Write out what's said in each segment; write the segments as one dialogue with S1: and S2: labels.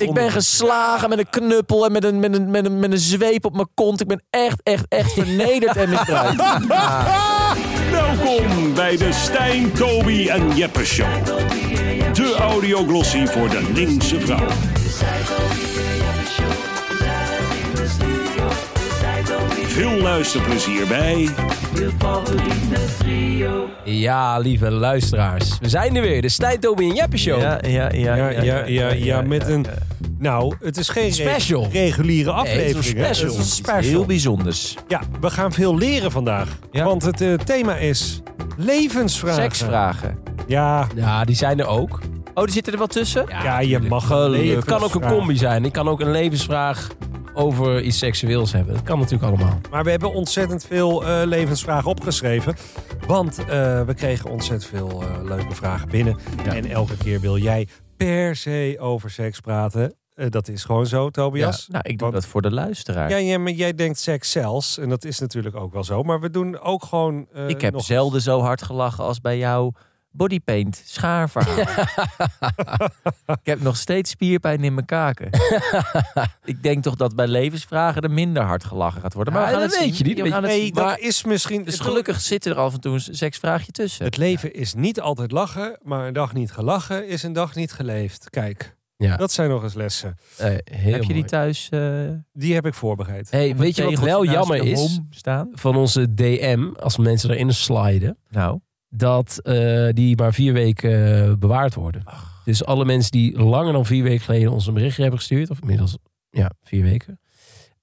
S1: Ik ben geslagen met een knuppel en met een, met, een, met, een, met een zweep op mijn kont. Ik ben echt, echt, echt vernederd en misbruikt.
S2: Welkom bij de Stijn, Toby en Jeppe Show. De audioglossie voor de linkse vrouw. Veel luisterplezier bij
S3: Ja, lieve luisteraars. We zijn er weer. De Stijn, Toby en Jeppe Show.
S4: Ja, ja, ja.
S5: Oh. Ja, ja, ja, ja, met een. Nou, het is geen re-
S3: Special.
S5: reguliere
S3: Nee, het
S5: aflevering.
S3: is een
S5: hè?
S3: special.
S5: Het is een
S3: Iets
S5: special.
S3: Heel bijzonders.
S5: Ja, we gaan veel leren vandaag.
S4: Ja.
S5: Want het eh, thema is levensvragen.
S3: Seksvragen.
S5: Ja,
S3: Ja, die zijn er ook.
S4: Oh, er zitten er wat tussen?
S5: ja je
S3: natuurlijk.
S5: mag een
S3: Gelukkig. Het kan ook een
S5: levensvraag.
S3: combi zijn. Ik kan ook een levensvraag over iets seksueels hebben. Dat kan natuurlijk allemaal.
S5: Maar we hebben ontzettend veel eh, levensvragen opgeschreven. Want eh, we kregen ontzettend veel eh, leuke vragen binnen. En elke keer wil jij per se over seks praten. Eh, dat is gewoon zo, Tobias.
S4: Nou, ik doe
S5: Want-
S4: dat voor de luisteraar.
S5: Ja, ja, maar jij denkt seks zelfs. En dat is natuurlijk ook wel zo. Maar we doen ook gewoon. eh,
S4: ik heb
S5: nog-
S4: zelden zo hard gelachen als bij jou. Bodypaint, schaarverhaal. ik heb nog steeds spierpijn in mijn kaken. ik denk toch dat bij levensvragen er minder hard gelachen gaat worden. Maar
S3: Ja,
S4: we gaan
S3: dat
S4: het
S3: weet
S4: zien.
S3: je niet.
S4: We gaan het
S5: Nee,
S4: zien.
S5: dat
S4: Maar-
S5: is misschien.
S4: dus gelukkig zit er af en toe een seksvraagje tussen.
S5: Het leven is niet altijd lachen, maar een dag niet gelachen is een dag niet geleefd. Kijk,
S3: Ja.
S5: dat zijn nog eens lessen.
S3: Eh, heel
S4: Heb je die
S3: mooi.
S4: thuis? eh,
S5: Die heb ik voorbereid.
S3: Hey, weet je wat
S4: tegeltje
S3: wel
S4: naast
S3: jammer
S4: je
S3: is?
S4: home Staan?
S3: Van onze DM, als mensen erin sliden,
S4: Nou,
S3: dat eh, die maar vier weken eh, bewaard worden. Dus alle mensen die langer dan vier weken geleden ons een berichtje hebben gestuurd, of inmiddels ja, vier weken,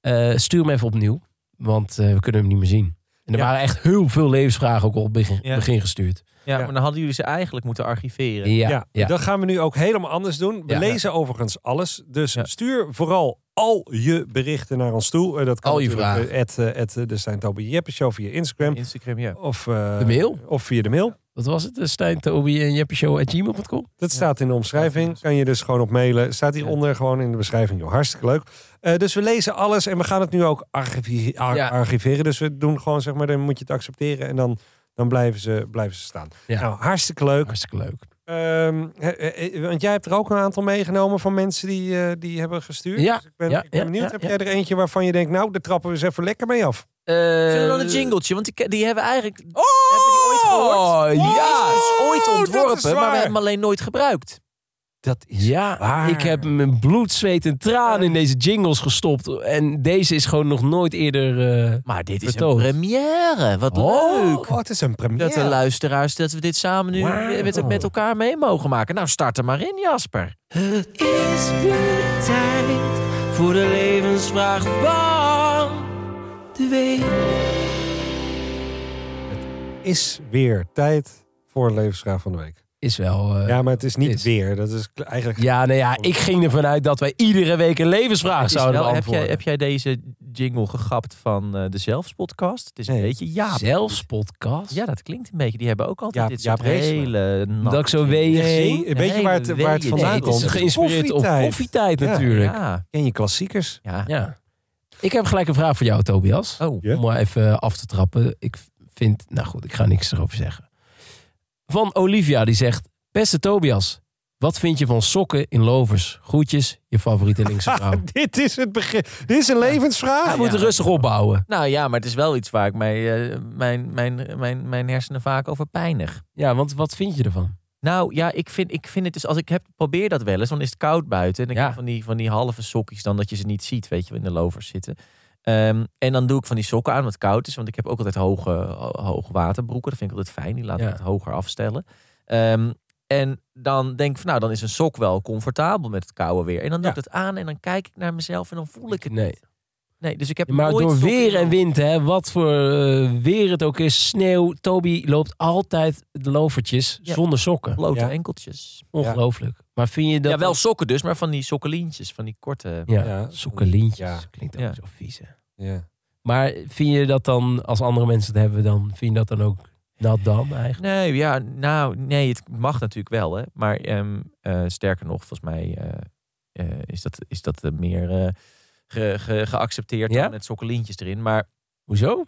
S3: eh, stuur hem even opnieuw, want eh, we kunnen hem niet meer zien. En er
S5: Ja.
S3: waren echt heel veel levensvragen ook op het begin,
S4: Ja.
S3: begin gestuurd.
S4: ja,
S5: Ja.
S4: maar dan hadden jullie ze eigenlijk moeten archiveren.
S3: Ja, ja.
S5: dat gaan we nu ook helemaal anders doen. We
S3: Ja.
S5: lezen overigens alles. Dus
S4: Ja.
S5: stuur vooral al je berichten naar ons toe. Eh, Dat kan
S3: Al je
S5: natuurlijk, eh, at, eh, at, eh, de Stijn Tobi Jeppe Show via Instagram.
S4: Instagram, ja.
S5: Of, eh,
S3: De mail?
S5: Of via de mail.
S3: Wat was het? Eh, Stijn, Toby en Jeppe Show at gmail.com?
S5: Dat staat in de omschrijving. Kan je dus gewoon op mailen. Staat hieronder gewoon in de beschrijving. Joh, hartstikke leuk. Eh, dus we lezen alles en we gaan het nu ook archivi- ar-
S3: Ja.
S5: archiveren. Dus we doen gewoon, zeg maar, dan moet je het accepteren. En dan, dan blijven, ze, blijven ze staan.
S3: Ja.
S5: Nou, hartstikke leuk.
S3: Hartstikke leuk.
S5: Ehm, he- he- want jij hebt er ook een aantal meegenomen van mensen die, eh, die hebben gestuurd.
S3: Ja,
S5: Dus ik ben,
S3: ja,
S5: ik ben
S3: ja,
S5: benieuwd.
S3: ja,
S5: heb
S3: ja.
S5: jij er eentje waarvan je denkt, nou, daar trappen we eens even lekker mee af.
S4: Zullen we dan een jingletje? Want die, die hebben we eigenlijk... Hebben we die ooit gehoord?
S3: Oh,
S4: Oh! Ja,
S3: ja.
S4: is ooit
S5: dat is
S4: ontworpen, maar
S5: waar.
S4: we hebben hem alleen nooit gebruikt.
S5: Dat is
S3: Ja,
S5: waar.
S3: ik heb mijn bloed, zweet en traan in deze jingles gestopt. En deze is gewoon nog nooit eerder... eh,
S4: Maar dit is
S3: Betoogd.
S4: een première. Wat
S3: Oh,
S4: leuk.
S5: Oh, het is een première.
S4: Dat de luisteraars, dat we dit samen nu
S3: Wauw.
S4: met, met elkaar mee mogen maken. Nou, start er maar in, Jasper. Het is weer tijd voor de levensvraag van de week.
S5: is weer tijd voor levensvraag van de week.
S3: is wel... eh, ja.
S5: Ja, maar het is niet
S3: is.
S5: weer. Dat is kle- eigenlijk.
S3: nee, ja, ik ging ervan uit dat wij iedere week een levensvraag
S4: Is
S3: zouden
S4: wel- heb, jij,
S3: beantwoorden.
S4: heb jij deze jingle gegapt van eh, de Zelfspodcast? Het is een
S5: Nee.
S4: beetje Jaap.
S3: Zelfs podcast?
S4: Ja, dat klinkt een beetje. Die hebben ook
S5: Jaap-
S4: altijd dit
S5: Jaap
S4: soort hele natte
S3: Dat ik zo
S4: jingles.
S3: wee-
S5: Nee,
S4: Nee,
S5: weet je waar het,
S4: nee,
S5: waar het
S4: nee,
S5: vandaan
S3: Nee, het
S5: komt?
S3: is geïnspireerd op
S5: Koffietijd.
S3: koffietijd
S5: Ja.
S3: natuurlijk. Ja.
S4: Ja,
S5: Ken je klassiekers?
S4: ja.
S3: Ik heb gelijk een vraag voor jou, Tobias.
S4: Oh,
S5: Ja.
S3: Om maar even af te trappen. Ik vind... Nou goed, ik ga niks erover zeggen. Van Olivia, die zegt... Beste Tobias, wat vind je van sokken in lovers? Groetjes, je favoriete linkse vrouw.
S5: Dit is het begin. Dit is een levensvraag.
S3: Hij moet rustig opbouwen.
S4: Nou ja, maar het is wel iets waar ik mij, eh, mijn, mijn, mijn, mijn hersenen vaak over pijnig.
S3: Ja, want wat vind je ervan?
S4: Nou ja, ik vind, ik vind het dus, als ik heb, probeer dat wel eens, dan is het koud buiten. En ik
S3: Ja.
S4: heb van die, van die halve sokjes dan dat je ze niet ziet, weet je, in de lovers zitten. Ehm, en dan doe ik van die sokken aan, omdat het koud is. Want ik heb ook altijd hoge, ho- hoge waterbroeken. Dat vind ik altijd fijn. Die laat ik
S3: Ja.
S4: het hoger afstellen. Ehm, en dan denk ik van, nou, dan is een sok wel comfortabel met het koude weer. En dan doe ik dat aan en dan kijk ik naar mezelf en dan voel ik het
S3: Nee.
S4: niet. Nee, dus ik heb
S3: Maar
S4: nooit
S3: door
S4: sokken
S3: weer en
S4: aan.
S3: wind, hè, wat voor eh, weer het ook is, sneeuw. Toby loopt altijd de lovertjes
S4: Ja.
S3: zonder sokken.
S4: Blote
S5: Ja.
S4: enkeltjes.
S3: Ongelooflijk. Maar vind je dat...
S4: ja, wel sokken dus, maar van die sokkelientjes, van die korte.
S3: Ja,
S5: Ja.
S3: sokkenlintjes.
S5: Ja.
S3: Klinkt ook
S4: Ja.
S3: zo vies, hè.
S5: Ja.
S3: Maar vind je dat dan, als andere mensen het hebben, dan vind je dat dan ook nat dan eigenlijk?
S4: Nee, ja, nou, nee, het mag natuurlijk wel, hè. Maar ehm, eh, sterker nog, volgens mij eh, eh, is dat, is dat eh, meer eh, ge- ge- geaccepteerd
S3: Ja?
S4: dan met sokkelientjes erin. Maar
S3: Hoezo?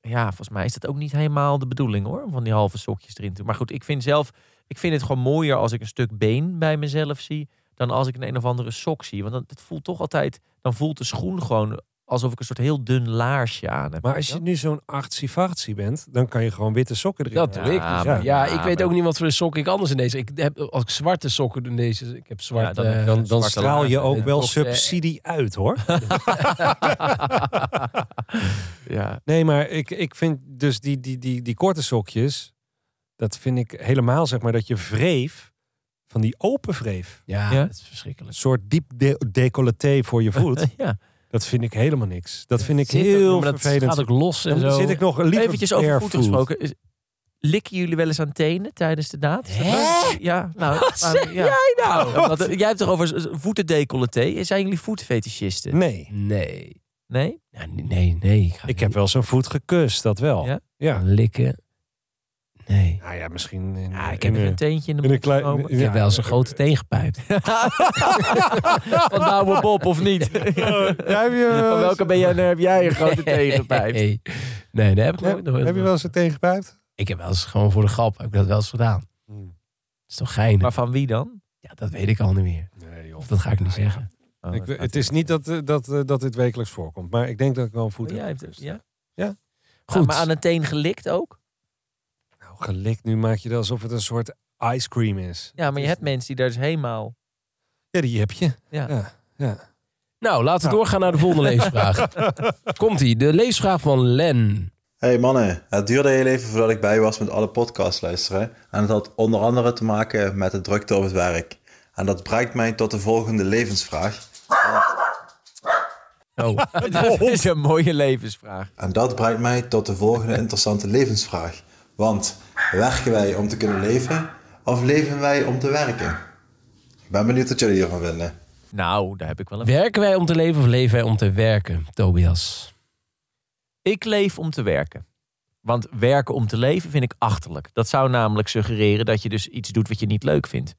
S4: ja, volgens mij is dat ook niet helemaal de bedoeling, hoor, om van die halve sokjes erin te doen. Maar goed, ik vind zelf, ik vind het gewoon mooier als ik een stuk been bij mezelf zie, dan als ik een een of andere sok zie. Want dan, het voelt toch altijd, dan voelt de schoen gewoon alsof ik een soort heel dun laarsje aan heb.
S5: Maar als je nu zo'n artsy-fartsy bent, dan kan je gewoon witte sokken erin.
S3: Dat
S5: doen.
S3: doe ik. Dus ja,
S4: maar-
S3: ja, ik
S5: nou,
S4: maar-
S3: weet ook niet wat voor sok ik anders in deze. Ik heb als ik zwarte sokken in deze. Ik heb zwart.
S4: Ja, dan-
S3: eh,
S5: Dan, dan
S4: Zwarte
S5: straal je
S4: laarzen,
S5: ook
S3: dit
S5: wel
S3: kost, eh,
S5: subsidie uit, hoor.
S4: Ja.
S5: Nee, maar ik, ik vind dus die, die, die, die korte sokjes, dat vind ik helemaal, zeg maar, dat je wreef van die open wreef.
S3: ja,
S4: Ja?
S3: dat is verschrikkelijk.
S5: Een soort diep de- decolleté voor je voet.
S4: Eh, ja.
S5: Dat vind ik helemaal niks. Dat vind ik
S3: Zit ook-
S5: heel
S3: maar dat
S5: vervelend.
S3: Gaat ook los en
S5: Dan
S3: zo.
S5: zit ik nog liever
S4: Eventjes over voeten
S5: barefoot.
S4: gesproken. Is- Likken jullie wel eens aan tenen tijdens de daad? Is dat
S3: Hè?
S4: leuk? Ja, nou, maar-
S3: zeg
S4: ja. nou? Want, eh, jij hebt toch over z- z- voetendecolleté? Zijn jullie voetfetischisten?
S5: Nee,
S3: Nee.
S4: Nee?
S3: Ja, nee, nee. Ik, ga
S5: ik heb wel zo'n voet gekust, dat wel.
S4: Ja?
S5: ja.
S3: niet likken. Nee.
S5: Nou ja, misschien. In,
S4: Ja, ik
S5: in
S4: heb er
S5: een-
S4: een teentje in de
S5: in een
S4: mond
S5: klein.
S4: genomen.
S3: Ik heb wel eens een
S5: eh,
S3: grote teen gepijpt.
S4: Van nou Bob, of niet?
S5: Ja, heb je,
S4: Van welke ben jij, heb jij een grote teen gepijpt?
S3: Nee, nee, dat heb ik nooit.
S5: heb, heb je wel eens een teengepijpt?
S3: Ik heb wel eens gewoon voor de grap heb ik dat wel eens gedaan.
S5: Hmm.
S3: Dat is toch geinig?
S4: Maar van wie dan?
S3: Ja, dat weet ik al niet meer.
S5: Nee, joh.
S3: Of dat ga ik niet zeggen.
S4: Oh,
S5: Ik,
S4: dat
S5: het is niet dat, eh, dat, eh, dat dit wekelijks voorkomt, maar ik denk dat ik wel een voet
S4: gaat- Jij
S5: heb.
S4: hebt-
S5: gekust.
S4: ja? Nou,
S3: Goed.
S4: Maar aan een teen gelikt ook?
S5: Nou, gelikt, nu maak je dat alsof het een soort ice cream is.
S4: Ja, maar je hebt mensen die daar dus helemaal...
S5: Ja, die heb je.
S4: Ja.
S5: ja. ja.
S3: Nou, laten we doorgaan naar de volgende leesvraag. Komt-ie. De leesvraag van Len.
S6: Hey mannen, het duurde heel even voordat ik bij was met alle podcasts luisteren. En het had onder andere te maken met de drukte op het werk. En dat brengt mij tot de volgende levensvraag.
S3: Oh,
S4: Dat is een mooie levensvraag.
S6: En dat brengt mij tot de volgende interessante levensvraag. Want werken wij om te kunnen leven of leven wij om te werken? Ik ben benieuwd wat jullie hiervan vinden.
S4: Nou, daar heb ik wel een...
S3: werken wij om te leven of leven wij om te werken, Tobias?
S4: Ik leef om te werken. Want werken om te leven vind ik achterlijk. Dat zou namelijk suggereren dat je dus iets doet wat je niet leuk vindt.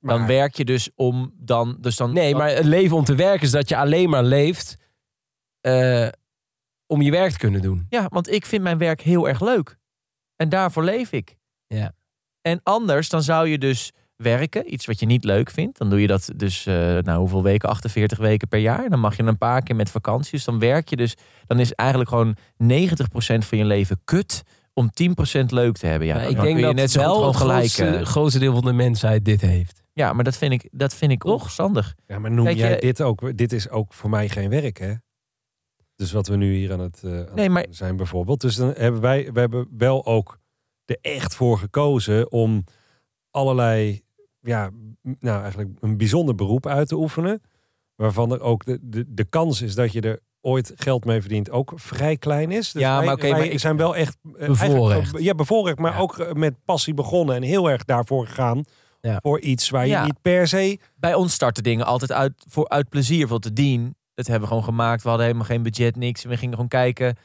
S4: Dan
S5: Maar-
S4: werk je dus om dan... Dus dan
S3: Nee, maar het leven om te werken is dat je alleen maar leeft eh, om je werk te kunnen doen.
S4: Ja, want ik vind mijn werk heel erg leuk. En daarvoor leef ik.
S3: Ja.
S4: En anders dan zou je dus werken, iets wat je niet leuk vindt. Dan doe je dat dus, eh, nou hoeveel weken? 48 weken per jaar. Dan mag je een paar keer met vakanties. dan werk je dus, dan is eigenlijk gewoon 90% van je leven kut om 10% leuk te hebben. Ja,
S3: Maar
S4: dan
S3: ik
S4: kun
S3: denk
S4: je
S3: dat
S4: net zo goed
S3: wel
S4: gewoon
S3: het
S4: gelijk...
S3: grootste,
S4: eh,
S3: grootste deel van de mensheid dit heeft.
S4: ja, maar dat vind ik, dat vind ik onverstandig.
S5: ja, maar noem
S4: Kijk, eh,
S5: jij
S4: je-
S5: dit ook? Dit is ook voor mij geen werk, hè? Dus wat we nu hier aan het, eh, aan
S4: Nee,
S5: het
S4: maar-
S5: zijn bijvoorbeeld. Dus dan hebben wij we hebben wel ook er echt voor gekozen om allerlei, ja, m- nou eigenlijk een bijzonder beroep uit te oefenen. Waarvan er ook de, de, de kans is dat je er ooit geld mee verdient ook vrij klein is. Dus
S4: Ja, maar
S5: wij,
S4: oké, maar
S5: wij
S4: ik-
S5: zijn wel echt... eh,
S3: Bevoorrecht.
S5: eigenlijk- Ja, bevoorrecht, maar
S3: Ja.
S5: ook eh, met passie begonnen en heel erg daarvoor gegaan.
S3: Ja.
S5: Voor iets waar je
S4: Ja.
S5: niet per se...
S4: bij ons starten dingen altijd uit, voor, uit plezier. Want de dien, dat hebben we gewoon gemaakt. We hadden helemaal geen budget, niks. En we gingen gewoon kijken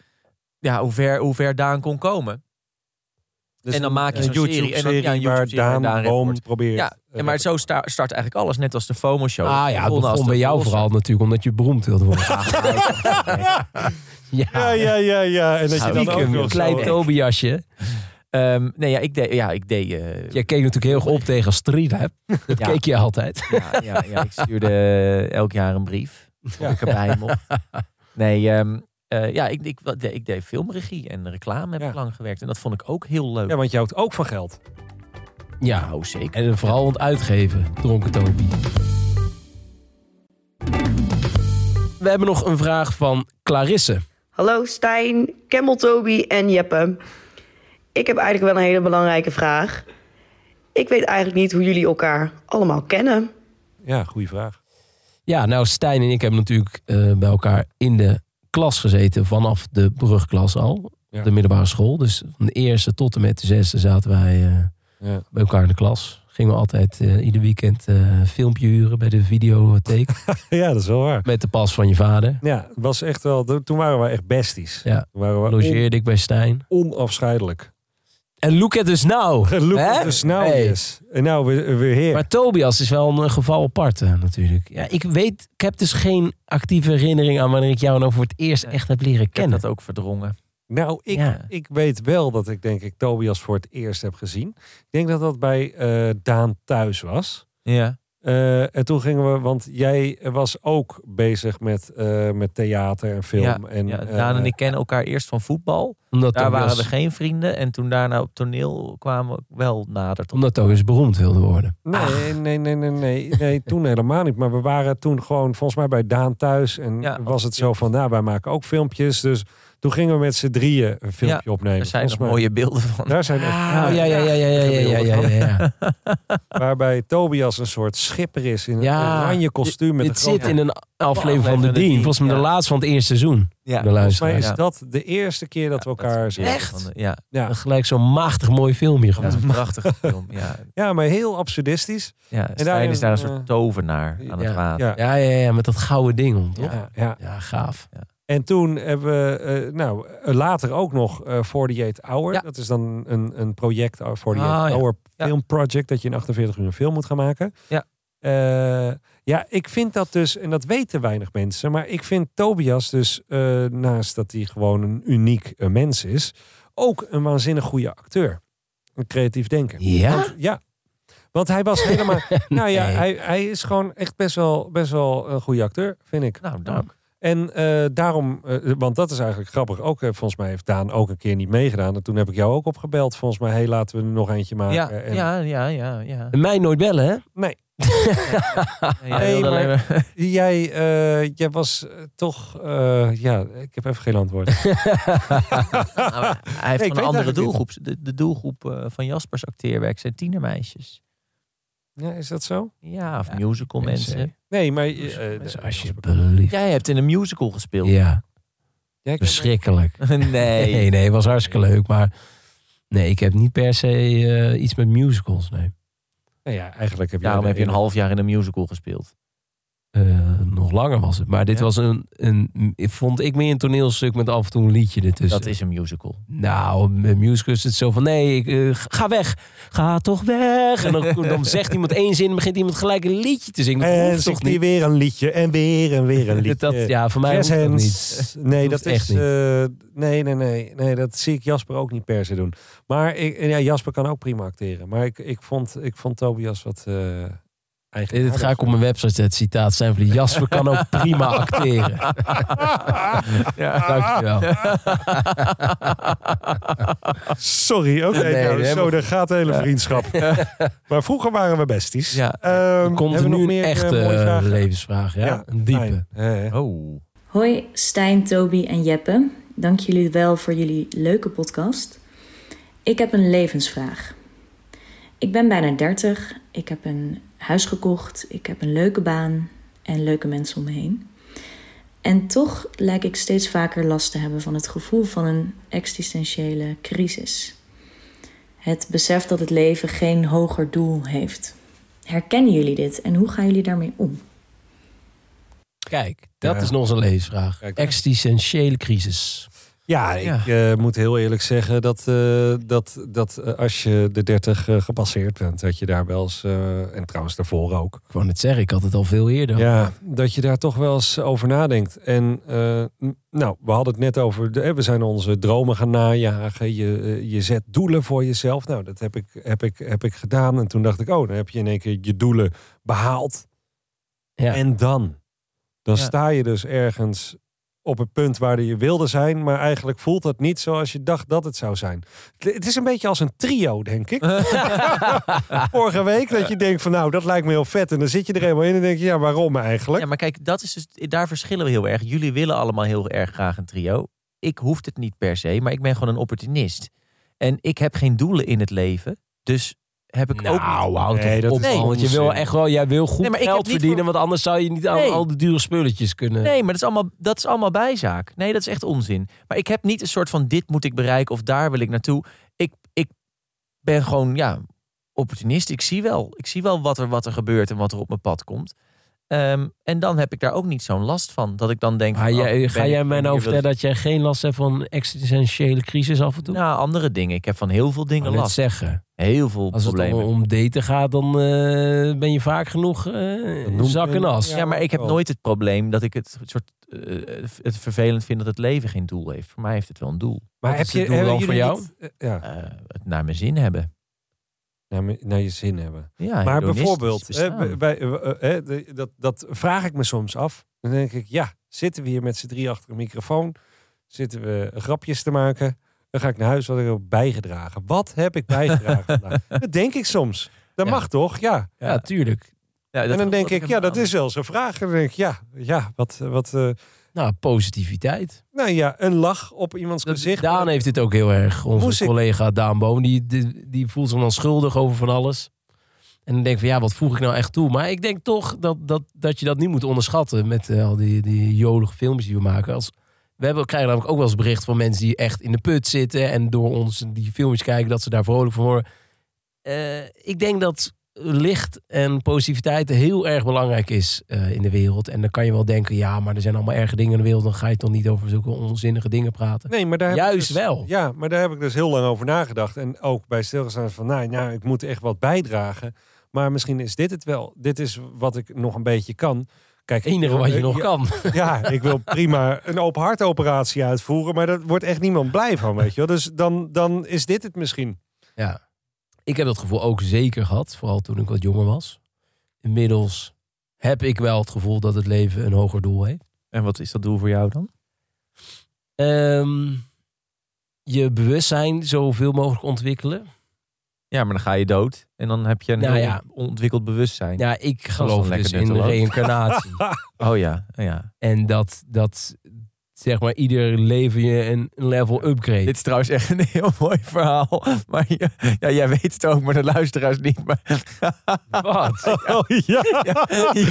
S4: ja, hoe, ver, hoe ver Daan kon komen.
S5: Dus
S4: En dan maak je
S5: een
S4: zo'n serie
S5: YouTube-serie
S4: en dan- ja,
S5: waar
S4: een YouTube-serie
S5: Daan,
S4: waar Daan
S5: Boom
S4: reporteert.
S5: probeert...
S4: Ja,
S5: eh,
S4: en maar zo sta- start eigenlijk alles. Net als de FOMO-show.
S3: Ah ja, het
S4: Begonnen Oh, als
S3: begon
S4: de
S3: bij jou
S4: Vos.
S3: vooral natuurlijk omdat je beroemd wilt worden.
S5: Ja,
S3: ja,
S5: ja, ja, ja. En dat je dan ook
S3: Stiekem,
S5: nog
S3: een klein
S5: zo-
S3: Tobiasje.
S4: Ehm, nee, ja, ik deed... Ja, ik deed eh,
S3: Jij keek natuurlijk heel erg op tegen Street Lab. Dat
S4: Ja.
S3: keek je altijd.
S4: ja, ja, ja, ik stuurde eh, elk jaar een brief. Of
S5: Ja.
S4: ik erbij mocht. Nee, ehm, eh, ja, ik, ik, wat deed- ik deed filmregie en reclame heb
S5: Ja.
S4: ik lang gewerkt. En dat vond ik ook heel leuk.
S5: Ja, want je houdt ook van geld.
S3: Ja,
S4: Nou, zeker.
S3: en vooral want uitgeven, dronken Toby. We hebben nog een vraag van Clarisse.
S7: Hallo Stijn, Kemmel Toby en Jeppe. Ik heb eigenlijk wel een hele belangrijke vraag. Ik weet eigenlijk niet hoe jullie elkaar allemaal kennen.
S5: Ja, goede vraag.
S3: Ja, nou, Stijn en ik hebben natuurlijk eh, bij elkaar in de klas gezeten vanaf de brugklas al.
S5: Ja.
S3: De middelbare school. Dus van de eerste tot en met de zesde zaten wij eh,
S5: Ja.
S3: bij elkaar in de klas. Gingen we altijd eh, ieder weekend eh, een filmpje huren bij de videotheek.
S5: ja, dat is wel waar.
S3: met de pas van je vader.
S5: Ja, het was echt wel... Toen waren we echt besties.
S3: Ja.
S5: Toen waren we on-
S3: Logeerde ik bij Stijn.
S5: onafscheidelijk.
S3: En look at us now.
S5: Look
S3: Hè?
S5: at us now,
S3: Hey.
S5: yes. En nou, weer, weer heer.
S3: Maar Tobias is wel een eh, geval apart eh, natuurlijk. Ja, ik weet, ik heb dus geen actieve herinnering aan wanneer ik jou nou voor het eerst echt heb leren
S4: Ik heb
S3: kennen.
S4: dat ook verdrongen.
S5: Nou, ik,
S3: Ja.
S5: ik weet wel dat ik denk ik Tobias voor het eerst heb gezien. Ik denk dat dat bij eh, Daan thuis was.
S4: Ja.
S5: Eh, en toen gingen we, want jij was ook bezig met, eh, met theater en film.
S4: Ja,
S5: en,
S4: ja,
S5: eh,
S4: Daan en ik kennen elkaar eerst van voetbal.
S3: Omdat
S4: Daar
S3: Tobias,
S4: waren we geen vrienden. En toen daarna op toneel kwamen we wel nader tot
S3: Omdat Tobias beroemd wilde worden.
S4: Ah.
S5: Nee, nee, nee, nee, nee, nee. Toen helemaal niet. Maar we waren toen gewoon volgens mij bij Daan thuis. En
S4: Ja,
S5: was het zo van, nou, wij maken ook filmpjes. Dus toen gingen we met z'n drieën een filmpje opnemen.
S4: Er zijn
S5: Volgens
S4: nog
S5: mij-
S4: mooie beelden van.
S5: Daar zijn echt,
S3: Ah, ja, ja, ja, ja, ja, ja, ja, ja, ja.
S5: Waarbij Tobias een soort schipper is in een
S3: Ja,
S5: oranje kostuum. Met
S3: Dit
S5: een grote-
S3: zit in een aflevering van De Dien. Volgens mij de
S4: Ja.
S3: laatste van het eerste seizoen.
S4: Ja.
S3: De
S5: Volgens mij
S3: luisteraar.
S5: is
S4: Ja.
S5: dat de eerste keer dat we
S4: Ja,
S5: elkaar
S4: dat-
S5: zien.
S3: Echt?
S4: Ja,
S5: Ja.
S3: Gelijk zo'n machtig mooi filmpje
S4: dat is
S3: gemaakt.
S4: een prachtige film. Ja,
S5: ja, maar heel absurdistisch.
S4: ja.
S5: daarin,
S4: Stijn is daar een
S5: eh,
S4: soort tovenaar aan
S3: ja.
S4: het water.
S5: Ja.
S3: Ja, ja, ja, met dat gouden ding om, toch?
S5: Ja, ja.
S3: Ja, gaaf.
S5: En toen hebben we, eh, nou, eh, later ook nog eh 48 Hour.
S4: Ja.
S5: Dat is dan een, een project, uh, 48
S4: Ah, ja.
S5: Hour
S4: Ja.
S5: Film Project, dat je in 48 uur een film moet gaan maken.
S4: Ja.
S5: Eh, ja, ik vind dat dus, en dat weten weinig mensen, maar ik vind Tobias dus, eh, naast dat hij gewoon een uniek eh, mens is, ook een waanzinnig goede acteur. Een creatief denker.
S3: Ja?
S5: Ja. Want hij was helemaal. Nou ja,
S3: Nee.
S5: hij, hij is gewoon echt best wel, best wel een goede acteur, vind ik.
S4: Nou, dank.
S5: En eh, daarom, eh, want dat is eigenlijk grappig. Ook eh, volgens mij heeft Daan ook een keer niet meegedaan. En toen heb ik jou ook opgebeld. Volgens mij, hey, laten we er nog eentje maken. Eh,
S4: Ja,
S5: en,
S4: ja, ja, ja. ja.
S3: Mij nooit bellen, hè?
S4: En jij
S5: Nee,
S4: wilde
S5: maar-
S4: alleen maar-
S5: Jij, eh, jij was eh, toch. eh, ja, ik heb even geen antwoord.
S4: Nou, hij heeft
S5: Nee, ik
S4: van
S5: weet
S4: een andere
S5: eigenlijk niet.
S4: doelgroep. De, de doelgroep eh, van Jaspers acteerwerk zijn tienermeisjes.
S5: ja, is dat zo?
S4: Ja, of musical mensen.
S5: Nee, maar. eh,
S3: Dus alsjeblieft.
S4: Jij hebt in een musical gespeeld.
S3: Ja,
S5: jij kan-
S3: verschrikkelijk.
S4: nee.
S3: Nee, nee, het was hartstikke leuk. Maar nee, ik heb niet per se eh, iets met musicals, nee.
S5: nou ja, eigenlijk heb eh,
S4: Daarom
S5: jij
S4: heb je een half jaar in een musical gespeeld.
S3: Eh, nog langer was het. Maar dit
S4: Ja.
S3: was een, een, vond ik meer een toneelstuk met af en toe een liedje ertussen.
S4: Dat is een musical.
S3: Nou, met musicals is het zo van, nee, ik, eh, ga weg. Ga toch weg. En dan, dan zegt iemand één zin en begint iemand gelijk een liedje te zingen. Dat
S5: En
S3: hoeft toch
S5: zingt hij
S3: niet?
S5: eh, weer een liedje. En weer en weer een liedje.
S3: Dat, ja, voor mij
S5: Jazz
S3: hoeft dat
S5: hands.
S3: niet.
S5: Nee,
S3: Hoeft
S5: dat
S3: echt
S5: is.
S3: niet.
S5: eh, nee, nee, nee, nee. Dat zie ik Jasper ook niet per se doen. Maar ik, ja, Jasper kan ook prima acteren. Maar ik, ik, vond, ik vond Tobias wat. eh eigenlijk.
S3: Eh, Dit ga ik op mijn website zetten, citaat zijn van Jasper kan ook prima acteren. Dankjewel.
S5: Sorry, oké.
S3: Nee,
S5: nou,
S3: we
S5: zo,
S3: hebben-
S5: daar gaat de hele vriendschap. maar vroeger waren we besties.
S4: Ja.
S5: Ehm,
S3: Komt er
S5: hebben
S3: nu
S5: we nog
S3: een
S5: meer, eh,
S3: echte
S5: mooie vragen?
S3: levensvraag, ja? Een diepe.
S5: fijn. Eh,
S4: Oh.
S8: Hoi Stijn, Toby en Jeppe. Dank jullie wel voor jullie leuke podcast. Ik heb een levensvraag. Ik ben bijna 30. Ik heb een huis gekocht. Ik heb een leuke baan en leuke mensen om me heen. En toch lijk ik steeds vaker last te hebben van het gevoel van een existentiële crisis. Het besef dat het leven geen hoger doel heeft. Herkennen jullie dit en hoe gaan jullie daarmee om?
S3: Kijk, dat
S5: Ja.
S3: is nog eens een levensvraag.
S5: Kijk.
S3: Existentiële crisis.
S5: Ja, ik eh, moet heel eerlijk zeggen dat, eh, dat, dat eh, als je de 30 eh, gepasseerd bent, dat je daar wel eens, eh, en trouwens daarvoor ook,
S3: Ik wou net zeggen, ik had het al veel eerder.
S5: Ja, dat je daar toch wel eens over nadenkt. En eh, n- nou, we hadden het net over, de- hè, we zijn onze dromen gaan najagen. Je, eh, je zet doelen voor jezelf. Nou, dat heb ik, heb, ik, heb ik gedaan. En toen dacht ik, oh, dan heb je in één keer je doelen behaald.
S3: Ja.
S5: En dan? Dan
S4: Ja.
S5: sta je dus ergens op het punt waar je wilde zijn. Maar eigenlijk voelt dat niet zoals je dacht dat het zou zijn. Het het is een beetje als een trio, denk ik. Vorige week dat je denkt van nou, dat lijkt me heel vet. En dan zit je er helemaal in en denk je, ja, waarom eigenlijk?
S4: Ja, maar kijk, dat is dus, daar verschillen we heel erg. Jullie willen allemaal heel erg graag een trio. Ik hoef het niet per se, maar ik ben gewoon een opportunist. En ik heb geen doelen in het leven. Dus heb ik ook niet...
S3: Nou, houd toch
S5: Nee, dat
S3: op,
S5: is
S3: man, Want je
S5: onzin.
S3: wil echt wel, jij wil goed
S4: Nee, maar ik heb
S3: geld
S4: niet
S3: verdienen,
S4: voor-
S3: want anders zou je niet aan
S4: Nee.
S3: al die dure spulletjes kunnen.
S4: Nee, maar dat is, allemaal, dat is allemaal bijzaak. Nee, dat is echt onzin. Maar ik heb niet een soort van dit moet ik bereiken of daar wil ik naartoe. Ik, ik ben gewoon, ja, opportunist. Ik zie wel. Ik zie wel wat er, wat er gebeurt en wat er op mijn pad komt. Ehm, en dan heb ik daar ook niet zo'n last van. Dat ik dan denk...
S3: Maar
S4: van, oh,
S3: jij,
S4: ben
S3: ga
S4: ik-
S3: jij mij
S4: ben
S3: nou
S4: ik- wil
S3: vertellen
S4: ik-
S3: dat jij geen last hebt van existentiële crisis af en toe?
S4: Nou, andere dingen. Ik heb van heel veel
S3: Ik
S4: dingen
S3: wou net
S4: last.
S3: zeggen.
S4: Heel veel
S3: Als het om,
S4: problemen.
S3: om daten gaat, dan eh, ben je vaak genoeg eh,
S5: noemt
S3: zak en
S5: men-
S3: as.
S5: ja.
S4: Ja, maar ik heb
S5: wel.
S4: nooit het probleem dat ik het soort eh, het vervelend vind dat het leven geen doel heeft. Voor mij heeft het wel een doel.
S5: Maar
S3: Wat is het doel
S5: hebben
S3: dan voor
S5: jullie
S3: jou?
S5: niet- eh, ja.
S4: Eh, het naar mijn zin hebben.
S5: naar, Nou, me- naar je zin hebben.
S4: Ja,
S5: maar
S4: hedonistisch
S5: bijvoorbeeld,
S4: bestaan.
S5: hè, bij, eh, eh, de- dat, dat vraag ik me soms af. Dan denk ik, ja, zitten we hier met z'n drie achter een microfoon? Zitten we grapjes te maken? Dan ga ik naar huis, wat heb ik ook bijgedragen? Wat heb ik bijgedragen vandaag? Dat denk ik soms. Dat
S4: Ja.
S5: mag toch? Ja.
S3: Ja, tuurlijk.
S4: Ja, dat
S5: En dan denk
S4: geloof
S5: ik, ja, dat
S4: helemaal
S5: is wel zo'n vraag. En dan denk ik, ja, ja wat, wat eh,
S3: Nou, positiviteit.
S5: nou ja, een lach op iemands
S3: Dat,
S5: gezicht.
S3: Daan heeft dit ook heel erg. Onze
S5: Moest ik-
S3: collega Daan Boom, die, die, die voelt zich dan schuldig over van alles. En dan denk ik van, ja, wat voeg ik nou echt toe? Maar ik denk toch dat, dat, dat je dat niet moet onderschatten met eh, al die, die jolige filmpjes die we maken. Als, we hebben, krijgen namelijk ook wel eens bericht van mensen die echt in de put zitten. En door ons die filmpjes kijken, dat ze daar vrolijk van worden. Eh, ik denk dat licht en positiviteit heel erg belangrijk is eh, in de wereld. En dan kan je wel denken, ja, maar er zijn allemaal erge dingen in de wereld. Dan ga je toch niet over zulke onzinnige dingen praten.
S5: Nee, maar daar heb ik
S3: Juist
S5: dus-
S3: wel.
S5: Ja, maar daar heb ik dus heel lang over nagedacht. En ook bij stilgestaan van, nou, nou, ik moet echt wat bijdragen. Maar misschien is dit het wel. Dit is wat ik nog een beetje kan. Kijk,
S3: Het enige wat je
S5: eh,
S3: nog
S5: ja,
S3: kan.
S5: Ja, ik wil prima een open hartoperatie uitvoeren. Maar daar wordt echt niemand blij van, weet je wel. Dus dan, dan is dit het misschien.
S3: Ja. Ik heb dat gevoel ook zeker gehad, vooral toen ik wat jonger was. Inmiddels heb ik wel het gevoel dat het leven een hoger doel heeft.
S4: niet. En wat is dat doel voor jou dan?
S3: Ehm, je bewustzijn zoveel mogelijk ontwikkelen.
S4: Ja, maar dan ga je dood. En dan heb je een
S3: Nou
S4: heel
S3: ja.
S4: ontwikkeld bewustzijn.
S3: Ja, ik
S4: dan
S3: geloof dus
S4: lekker
S3: in de
S4: nutteloos.
S3: reïncarnatie.
S4: Oh ja, ja.
S3: en dat, dat, zeg maar, ieder leven je een een level upgrade.
S4: Dit is trouwens echt een heel mooi verhaal. Maar je- ja, jij weet het ook, maar de luisteraars niet. Maar
S3: Wat?
S5: Oh ja.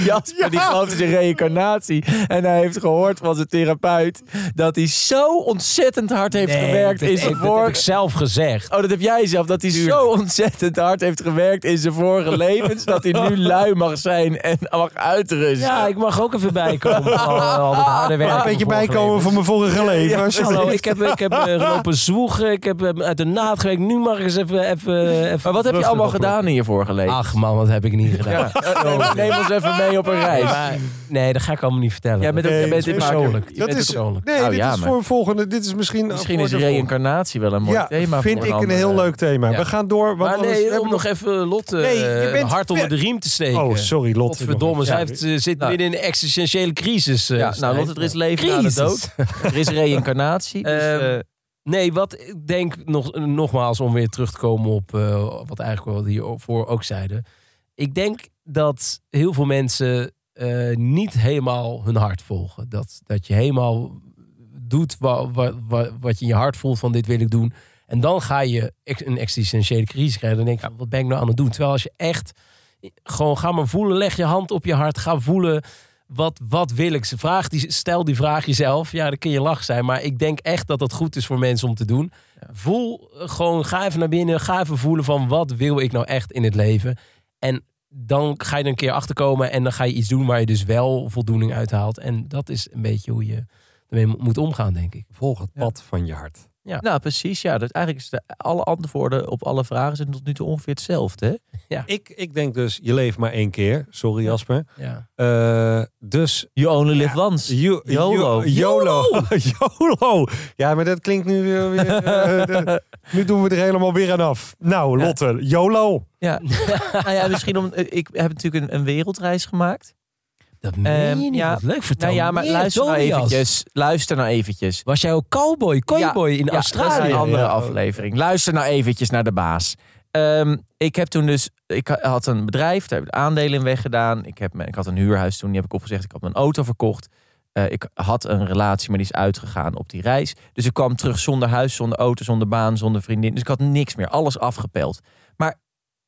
S4: Jasper die gelooft in reïncarnatie. En hij heeft gehoord van zijn therapeut dat hij zo ontzettend hard heeft gewerkt in zijn
S3: voor
S4: vorige...
S3: zelf gezegd.
S4: Oh, dat heb jij zelf. Dat hij zo ontzettend hard heeft gewerkt in zijn vorige levens. Dat hij nu lui mag zijn en mag uitrusten.
S3: Ja, ik Oh, mag ook even bijkomen. van al dat harde werk
S5: Een
S3: in
S5: beetje
S3: mijn vorige
S5: bijkomen
S3: leven.
S5: van mijn vorige leven.
S3: Hallo,
S5: alsjeblieft.
S3: ik heb, ik heb eh, lopen zwoegen, ik heb eh, uit de naad gewerkt. Nu mag ik eens even... even, even
S4: Maar wat heb je
S3: rustig
S4: allemaal
S3: oplopen.
S4: gedaan in je vorige leven?
S3: Ach man, wat heb ik niet gedaan.
S4: Ja, eh, neem- neem ons even mee op een
S3: Nee,
S4: reis.
S3: maar- nee, dat ga ik allemaal niet vertellen.
S4: Jij bent ook-
S5: Nee,
S4: jij bent dit
S3: persoonlijk.
S4: maar-
S3: Je bent persoonlijk. Nou
S5: Nee,
S4: Oh,
S5: dit
S4: ja,
S5: Eh, is
S4: maar-
S5: voor een volgende. Dit is misschien...
S4: Misschien
S5: voor
S4: is
S5: de volgende.
S4: reïncarnatie wel een mooi
S5: ja,
S4: thema. voor
S5: vind ik een
S4: andere-
S5: heel leuk thema.
S3: ja.
S5: We gaan door. Want
S3: Maar
S5: anders we
S3: nee,
S5: hebben
S3: om nog even Lotte
S5: Nee, je
S3: eh,
S5: bent
S3: hard onder de
S5: ver-
S3: riem te steken.
S5: Oh, sorry, Lot.
S3: Godverdomme, zij
S5: Ja.
S3: heeft, eh, zit
S4: Nou.
S3: midden in een existentiële crisis. eh,
S4: Ja,
S3: Stijn.
S4: nou, Lotte, er is leven na de
S3: Crisis.
S4: dood. Er is reïncarnatie. Dus,
S3: Ehm,
S4: eh,
S3: Nee, wat ik denk nog, nogmaals om weer terug te komen op eh, wat eigenlijk wel hiervoor ook zeiden. Ik denk dat heel veel mensen eh, niet helemaal hun hart volgen. Dat, dat je helemaal doet wa- wa- wa- wat je in je hart voelt van dit wil ik doen. En dan ga je ex- een existentiële crisis krijgen. Dan denk je, van, wat ben ik nou aan het doen? Terwijl als je echt gewoon ga maar voelen, leg je hand op je hart, ga voelen. Wat, wat wil ik? Ze Vraag die, stel die vraag jezelf. Ja, dan kun je lach zijn. Maar ik denk echt dat dat goed is voor mensen om te doen. Voel eh, gewoon, ga even naar binnen. Ga even voelen van wat wil ik nou echt in het leven. En dan ga je er een keer achterkomen. En dan ga je iets doen waar je dus wel voldoening uit haalt. En dat is een beetje hoe je ermee mo- moet omgaan, denk ik.
S5: Volg het pad van je hart.
S4: nou, precies. Ja, dus eigenlijk is de, alle antwoorden op alle vragen zijn tot nu toe ongeveer hetzelfde. Hè?
S5: Ik, ik denk dus, je leeft maar één keer. Sorry Jasper.
S3: Ja.
S5: Eh, dus...
S4: You only live once.
S5: yo- yo-
S4: YOLO.
S5: YOLO. YOLO. Ja, maar dat klinkt nu weer... weer, eh, de- nu doen we er helemaal weer aan af. Nou, Lotte, YOLO.
S4: Ja. nou ja, misschien om. eh, Ik heb natuurlijk een, een wereldreis gemaakt.
S3: Dat meen je
S4: Ehm,
S3: niet.
S4: ja.
S3: Wat leuk, vertel
S4: nou ja, maar
S3: meer,
S4: luister nou
S3: Tobias.
S4: eventjes. Luister nou eventjes.
S3: Was jij ook cowboy, cowboy in
S4: Ja, Dat is
S3: Australië?
S4: een andere
S5: Ja.
S4: aflevering. Luister nou eventjes naar de baas. Ehm, ik heb toen dus, ik ha- had een bedrijf, daar heb ik aandelen in weggedaan. Ik, heb, mijn- ik had een huurhuis toen, die heb ik opgezegd. Ik had mijn auto verkocht. Eh, ik had een relatie, maar die is uitgegaan op die reis. Dus ik kwam terug zonder huis, zonder auto, zonder baan, zonder vriendin. Dus ik had niks meer, alles afgepeld. Maar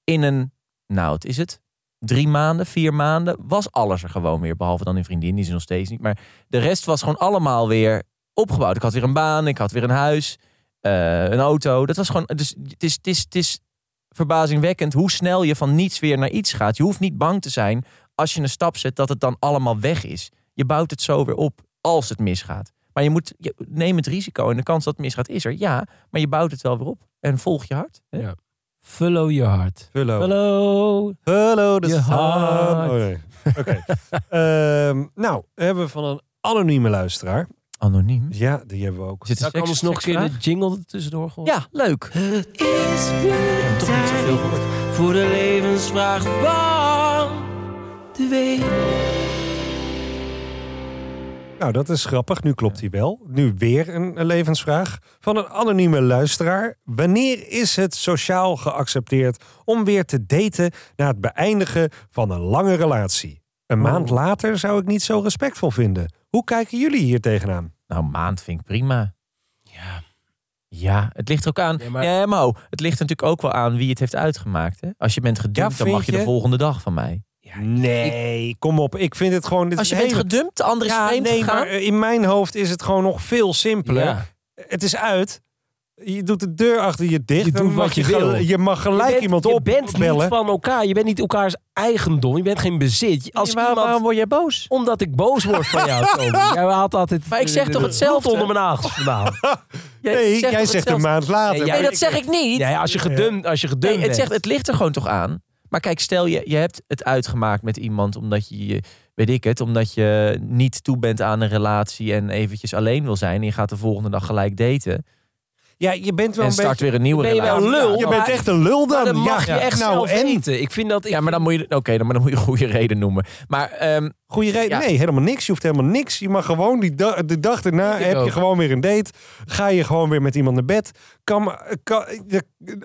S4: in een, nou wat is het, drie maanden, vier maanden, was alles er gewoon weer. Behalve dan een vriendin, die is er nog steeds niet. Maar de rest was gewoon allemaal weer opgebouwd. Ik had weer een baan, ik had weer een huis, eh, een auto. Dat was gewoon, dus het is, het, is, het is verbazingwekkend hoe snel je van niets weer naar iets gaat. Je hoeft niet bang te zijn als je een stap zet dat het dan allemaal weg is. Je bouwt het zo weer op als het misgaat. Maar je moet, je, neem het risico en de kans dat het misgaat is er, ja. Maar je bouwt het wel weer op en volg je hart. hè?
S3: Ja. Follow your heart.
S4: Oh.
S5: YOLO.
S3: Hallo.
S5: Hallo, de
S3: Je
S5: sun.
S3: hart.
S5: Oh, nee. Oké. Ehm, nou, hebben we van een anonieme luisteraar.
S4: Anoniem.
S5: Ja, die hebben we ook.
S4: Zit er
S3: Zou ik
S4: seks-
S3: anders nog een keer
S4: seksvraag?
S3: de jingle er tussendoor gooien?
S4: Ja, leuk. Ik heb toch niet zoveel gehoord. voor de levensvraag van de week.
S5: Nou, dat is grappig. Nu klopt hij wel. Nu weer een, een levensvraag van een anonieme luisteraar. Wanneer is het sociaal geaccepteerd om weer te daten na het beëindigen van een lange relatie? Een
S3: Oh.
S5: maand later zou ik niet zo respectvol vinden. Hoe kijken jullie hier tegenaan?
S4: Nou, een maand vind ik prima.
S3: Ja.
S4: Ja, het ligt er ook aan.
S3: Ja,
S4: Ja,
S3: maar-
S4: maar... Mo, het ligt er natuurlijk ook wel aan wie het heeft uitgemaakt. Hè? Als je bent gedumpt,
S5: Ja,
S4: dan mag
S5: vind
S4: je,
S5: je?
S4: de volgende dag van mij.
S5: Nee, kom op. Ik vind het gewoon... Dit
S4: Als
S5: is
S4: je bent
S5: hele-
S4: gedumpt, de ander is
S5: ja,
S4: vreemd
S5: nee,
S4: gegaan.
S5: maar eh, in mijn hoofd is het gewoon nog veel simpeler.
S3: Ja.
S5: Het is uit. Je doet de deur achter je dicht.
S3: Je
S5: Dan
S3: doet
S5: mag
S3: wat je
S5: gel-
S3: wil.
S5: Je mag gelijk
S3: je bent,
S5: iemand
S3: je bent
S5: opbellen.
S3: niet van elkaar. Je bent niet elkaars eigendom. Je bent geen bezit. Als
S4: Nee, maar
S3: iemand,
S4: waarom word jij boos?
S3: Omdat ik boos word van jou, Toby. Jij haalt altijd
S1: Maar ik zeg toch
S3: de- de-
S1: hetzelfde?
S3: onder mijn nagels vandaan.
S4: Jij
S5: nee,
S4: zegt
S5: jij
S4: toch
S5: zegt een
S4: hetzelfde?
S5: maand later.
S3: Nee, jij-
S5: maar
S1: Nee, dat zeg ik niet.
S3: Nee, als je gedumpt, als je gedumpt
S4: Nee,
S3: bent.
S4: het, zegt, het ligt er gewoon toch aan. Maar kijk, stel je, je hebt het uitgemaakt met iemand omdat je, je- weet ik het, omdat je niet toe bent aan een relatie en eventjes alleen wil zijn. En je gaat de volgende dag gelijk daten.
S5: Ja, je bent wel
S4: En
S5: een
S4: start
S5: beetje...
S4: weer een nieuwe
S3: Ben je wel
S4: relatie.
S3: lul?
S5: Je
S3: Maar-
S5: bent echt een lul dan.
S3: Maar dat mag
S5: ja,
S3: je echt
S5: nou,
S3: zelf
S5: en?
S3: weten. Ik vind dat... Ik
S4: Ja, maar dan moet je, oké, dan- maar dan moet je een goede reden noemen. Maar ehm,
S5: Goeie reden.
S4: Ja.
S5: Nee, helemaal niks. Je hoeft helemaal niks. Je mag gewoon die da- de dag daarna
S3: ik
S5: heb
S3: ook.
S5: je gewoon weer een date. Ga je gewoon weer met iemand naar bed. Kan, kan, de-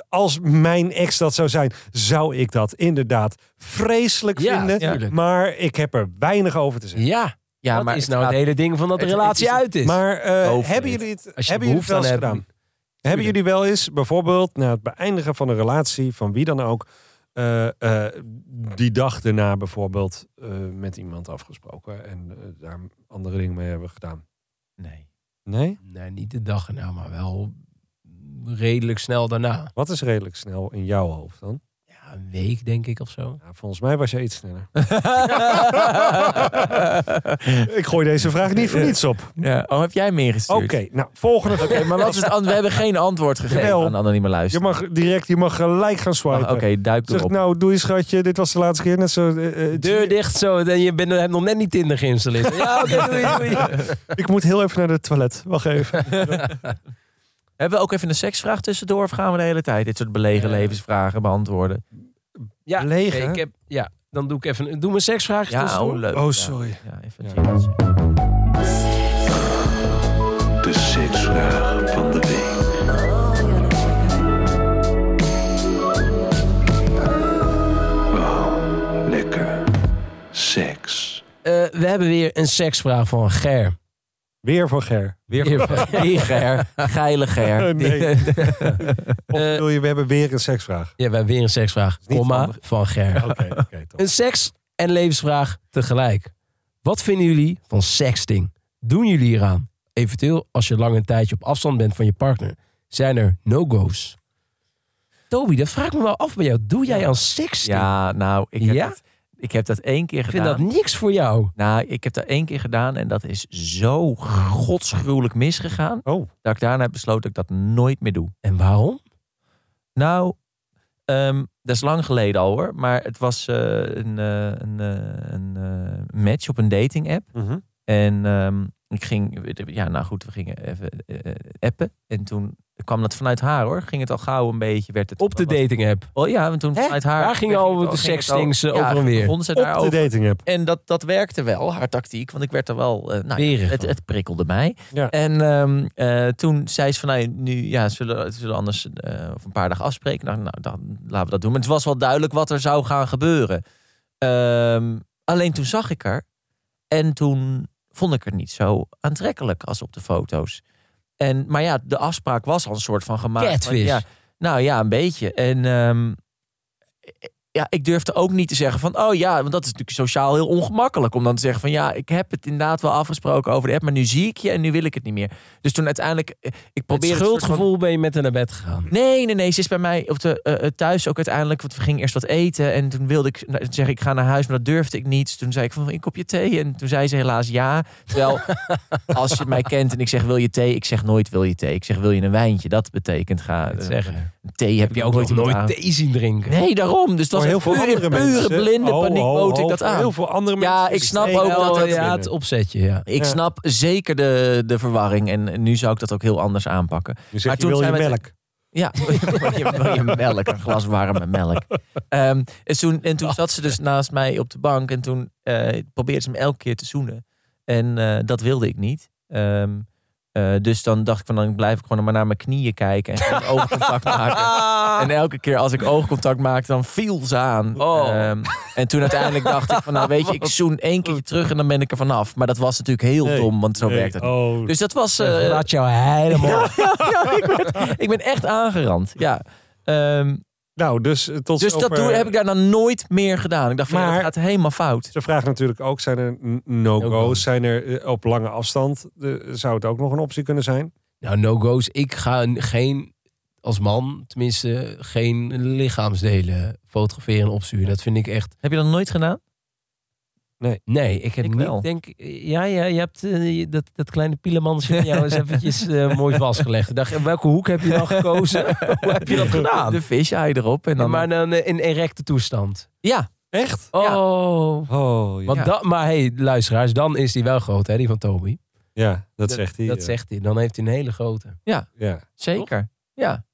S5: als mijn ex dat zou zijn, zou ik dat inderdaad vreselijk
S3: Ja,
S5: vinden.
S3: tuurlijk.
S5: Maar ik heb er weinig over te zeggen.
S3: ja,
S4: ja,
S3: dat
S4: maar
S3: is
S4: het
S3: nou
S4: gaat-
S3: het hele ding van dat de
S4: het- het
S3: relatie
S4: is-
S3: uit is.
S5: Maar eh,
S4: Over
S5: hebben
S4: dit.
S5: jullie het,
S3: Als je
S5: hebben jullie het
S3: behoefte
S5: wel eens
S3: aan hebt,
S5: gedaan? Hebben jullie wel eens bijvoorbeeld na het beëindigen van een relatie van wie dan ook, eh, eh, die dag daarna bijvoorbeeld eh, met iemand afgesproken en eh, daar andere dingen mee hebben gedaan?
S4: nee.
S5: Nee?
S3: Nee, niet de dag erna, maar wel redelijk snel daarna.
S5: Wat is redelijk snel in jouw hoofd dan?
S3: Ja, een week denk ik of zo.
S5: Nou, volgens mij was je iets sneller. Ik gooi deze vraag niet voor niets op.
S4: ja. Oh, heb jij meer gestuurd?
S5: Oké, nou volgende vraag.
S4: Oké, maar wat is het an- We hebben geen antwoord gegeven
S5: Jawel.
S4: aan de anonieme
S5: Je
S4: luister.
S5: mag direct, je mag gelijk gaan
S4: Mag-
S5: swipen.
S4: Oké, duik
S5: Zeg
S4: erop.
S5: nou, doei schatje, dit was de laatste keer. Net zo, eh, eh,
S3: Deur dicht zo. En je bent, hebt nog net niet Tinder geïnstalleerd. Ja, oké, doei, doei.
S5: ik moet heel even naar het toilet. Wacht even.
S4: Hebben we ook even een seksvraag tussendoor of gaan we de hele tijd dit soort belegen
S3: Eh.
S4: levensvragen beantwoorden?
S3: Ja,
S5: Leeg,
S3: nee,
S5: hè?
S3: ik heb, ja, dan doe ik even... Doe mijn seksvraag.
S4: Ja, oh, leuk.
S5: Oh,
S4: Ja.
S5: sorry.
S4: Ja,
S5: Ja.
S4: even een jingletje.
S2: De seksvraag van de week. Wauw, lekker. Seks.
S3: Eh, we hebben weer een seksvraag van Ger.
S5: Weer voor Ger.
S3: Weer van
S4: Die Oh, Ger, geile Ger.
S5: Nee.
S4: Die-
S5: Of
S3: Eh,
S5: bedoel je, we hebben weer een seksvraag.
S3: Ja, we hebben weer een seksvraag.
S5: niet
S3: Komma
S5: handig.
S3: van Ger.
S5: Oké, oké, top.
S3: Een seks- en levensvraag tegelijk. Wat vinden jullie van sexting? Doen jullie hieraan? Eventueel als je lang een tijdje op afstand bent van je partner. Zijn er no-go's? Toby, dat vraag ik me wel af bij jou. Doe jij aan sexting?
S4: ja, nou, ik heb,
S3: Ja?
S4: dat, ik heb dat één keer
S3: ik vind
S4: gedaan.
S3: dat niks voor jou.
S4: Nou, ik heb dat één keer gedaan en dat is zo godsgruwelijk misgegaan.
S5: Oh.
S4: Dat ik daarna heb besloten dat ik dat nooit meer doe.
S3: En waarom?
S4: Nou, ehm, dat is lang geleden al hoor. Maar het was eh, een, eh, een, eh, een eh, match op een dating app.
S5: Mhm.
S4: En ehm, ik ging, ja, nou goed, we gingen even eh, appen. En toen kwam dat vanuit haar hoor. Ging het al gauw een beetje, werd het
S3: Op de dating app.
S4: Oh ja, want toen
S3: Hè?
S4: vanuit haar.
S3: Daar ging
S4: het
S3: al de
S4: ging het
S3: sextings, eh,
S4: ja,
S3: over en weer.
S4: begonnen ze
S5: Op de
S4: daarover.
S5: dating app.
S4: En dat, dat werkte wel, haar tactiek. Want ik werd er wel... eh, nou, ja,
S3: Berig
S4: het,
S3: van.
S4: het prikkelde mij.
S5: Ja.
S4: En ehm, eh, toen zei ze van... Nou, nu ja, zullen we zullen we anders eh over een paar dagen afspreken. Nou, nou, dan laten we dat doen. Maar het was wel duidelijk wat er zou gaan gebeuren. Ehm, alleen toen zag ik haar. En toen vond ik haar niet zo aantrekkelijk als op de foto's. En, maar ja, de afspraak was al een soort van gemaakt. van,
S3: Catfish.
S4: Ja, nou ja, een beetje. En ehm, ja, ik durfde ook niet te zeggen van, oh ja, want dat is natuurlijk sociaal heel ongemakkelijk. Om dan te zeggen van, ja, ik heb het inderdaad wel afgesproken over de app, maar nu zie ik je en nu wil ik het niet meer. Dus toen uiteindelijk, eh, ik
S3: Met
S4: probeerde... het soort van-
S3: schuldgevoel ben je met haar naar bed gegaan.
S4: Nee, nee, nee. Ze is bij mij op de, eh, eh, thuis ook uiteindelijk. Want we gingen eerst wat eten. En toen wilde ik nou, zeggen, ik ga naar huis. Maar dat durfde ik niet. Dus Toen zei ik van, een kopje thee. En toen zei ze helaas ja. Terwijl, als je mij kent en ik zeg, wil je thee? Ik zeg nooit, wil je thee? Ik zeg, wil je een wijntje? Dat betekent, ga... eh,
S3: Zeggen.
S4: Thee heb
S3: Heb je
S4: ik
S3: ook nog
S4: iemand
S3: nooit
S4: aan.
S3: thee zien drinken?
S4: Nee, daarom. Dus dat
S5: Voor
S4: was
S5: Oh, heel veel
S4: pure,
S5: andere mensen.
S4: pure blinde
S5: Oh,
S4: paniek
S5: oh,
S4: bood ik
S5: oh,
S4: dat
S5: voor
S4: aan.
S5: Heel veel andere mensen. is
S4: Ja, ik
S5: het eh,
S4: snap
S5: heel
S4: ook dat
S5: erg
S4: het-
S3: ja,
S5: winnen.
S3: het opzetje, ja.
S4: Ik
S5: Ja.
S4: snap zeker de, de verwarring. En nu zou ik dat ook heel anders aanpakken.
S5: Nu zeg
S4: maar
S5: je,
S4: toen
S5: wil je
S4: zijn we-
S5: melk?
S4: Ja, wil je, wil je melk, een glas warme melk. Ehm, en, toen, en toen zat ze dus naast mij op de bank en toen eh, probeerde ze me elke keer te zoenen. En eh, dat wilde ik niet. Ehm, eh, dus dan dacht ik van dan blijf ik gewoon maar naar mijn knieën kijken en geen oogcontact maken. En elke keer als ik oogcontact maakte, dan viel ze aan.
S3: Oh.
S4: Ehm, en toen uiteindelijk dacht ik van nou weet je, ik zoen één keer terug en dan ben ik er vanaf. Maar dat was natuurlijk heel
S5: Nee.
S4: dom, want zo
S5: Nee,
S4: werkt het.
S5: Oh,
S4: Dus dat was, eh,
S3: Laat jou helemaal.
S4: ja, ja, ja, ik, ben, ik ben echt aangerand. Ja. Ehm,
S5: nou, dus eh, tot
S4: dus dat
S5: zover-
S4: doe, heb ik daar dan nooit meer gedaan. Ik dacht van, ja,
S5: Maar-
S4: dat gaat helemaal fout.
S5: Ze vragen natuurlijk ook, zijn er n-
S3: No-go's.
S5: no-go's? Zijn er eh, op lange afstand? eh, zou het ook nog een optie kunnen zijn?
S3: Nou, no-go's. Ik ga n- geen, als man tenminste, geen lichaamsdelen fotograferen en opsturen. Dat vind ik echt...
S4: Heb je dat nooit gedaan?
S3: Nee, ik heb
S4: Ik
S3: niet,
S4: wel.
S3: denk... Ja, ja, je hebt eh, je- dat, dat kleine pielemansje van jou eens eventjes eh, mooi vastgelegd. Ik Dacht, in welke hoek heb je dan gekozen? Hoe heb je dat gedaan?
S4: De visje erop. En dan,
S3: maar dan eh, in erecte toestand.
S4: ja,
S5: Echt?
S3: Oh,
S4: Ja.
S5: Oh, ja.
S3: Want
S4: Ja.
S3: dat, maar hey, luisteraars, dan is die wel groot, hè, die van Toby.
S5: Ja, dat, zegt hij.
S3: Dat
S5: ja.
S3: zegt hij. Dan heeft hij een hele grote.
S5: Ja.
S4: zeker. Ja.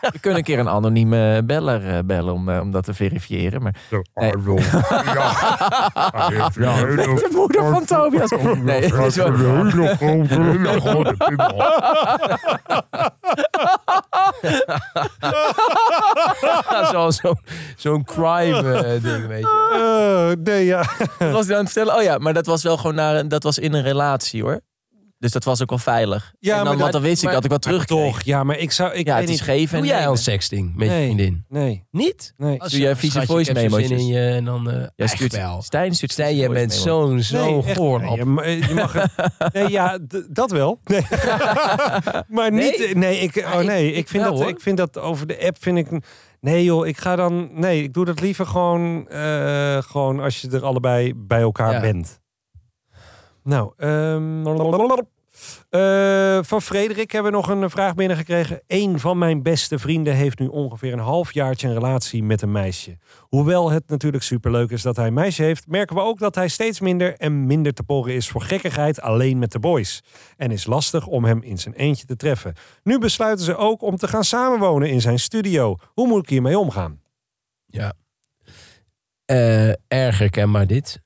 S4: We kunnen een keer een anonieme beller eh, bellen om, eh, om dat te verifiëren. Maar... Nee. de moeder van Tobias. Nee, het is wel-
S3: Ja, zoals zo- zo'n crime eh, ding, weet je.
S5: Eh, nee, ja.
S4: Wat was ik aan het vertellen? Oh ja, maar dat was wel gewoon naar, een- dat was in een relatie hoor. Dus dat was ook wel veilig.
S5: Ja,
S4: Ja, en dan,
S5: maar
S4: want
S5: dat-
S4: dan wist ik
S5: maar-
S4: dat ik wat terug
S5: Toch, ja, maar ik zou... Ik
S4: Ja,
S5: weet
S4: het is
S5: niet.
S4: geven en
S3: Doe jij
S4: nemen.
S3: al sexting met
S5: Nee.
S3: je vriendin?
S5: Nee,
S3: Niet?
S5: nee.
S4: Doe jij vieze
S3: Schatje, ik heb zo'n
S4: voice-memo's?
S3: zin in je en dan... eh
S4: Jij
S3: echt
S4: stuurt,
S3: wel.
S4: Stijn stuurt
S3: Stijn, jij bent
S4: voice memo.
S3: zo'n zo
S5: echt.
S3: goor
S5: Nee,
S3: op.
S5: je, ma- eh, je mag het- nee, ja, d- dat wel. Nee. maar niet...
S3: Nee?
S5: Nee, ik, oh, nee,
S3: ik-
S5: ik,
S3: ik
S5: vind
S3: wel,
S5: dat,
S3: hoor.
S5: ik vind dat over de app vind ik... Nee joh, ik ga dan... Nee, ik doe dat liever gewoon, eh, gewoon als je er allebei bij elkaar
S3: Ja.
S5: bent. Nou, ehm, lalalala. Eh, van Frederik hebben we nog een vraag binnengekregen. Eén van mijn beste vrienden heeft nu ongeveer een halfjaartje een relatie met een meisje. Hoewel het natuurlijk superleuk is dat hij een meisje heeft, merken we ook dat hij steeds minder en minder te poren is voor gekkigheid alleen met de boys. En is lastig om hem in zijn eentje te treffen. Nu besluiten ze ook om te gaan samenwonen in zijn studio. Hoe moet ik hiermee omgaan?
S3: Eh, erger kenbaar dit.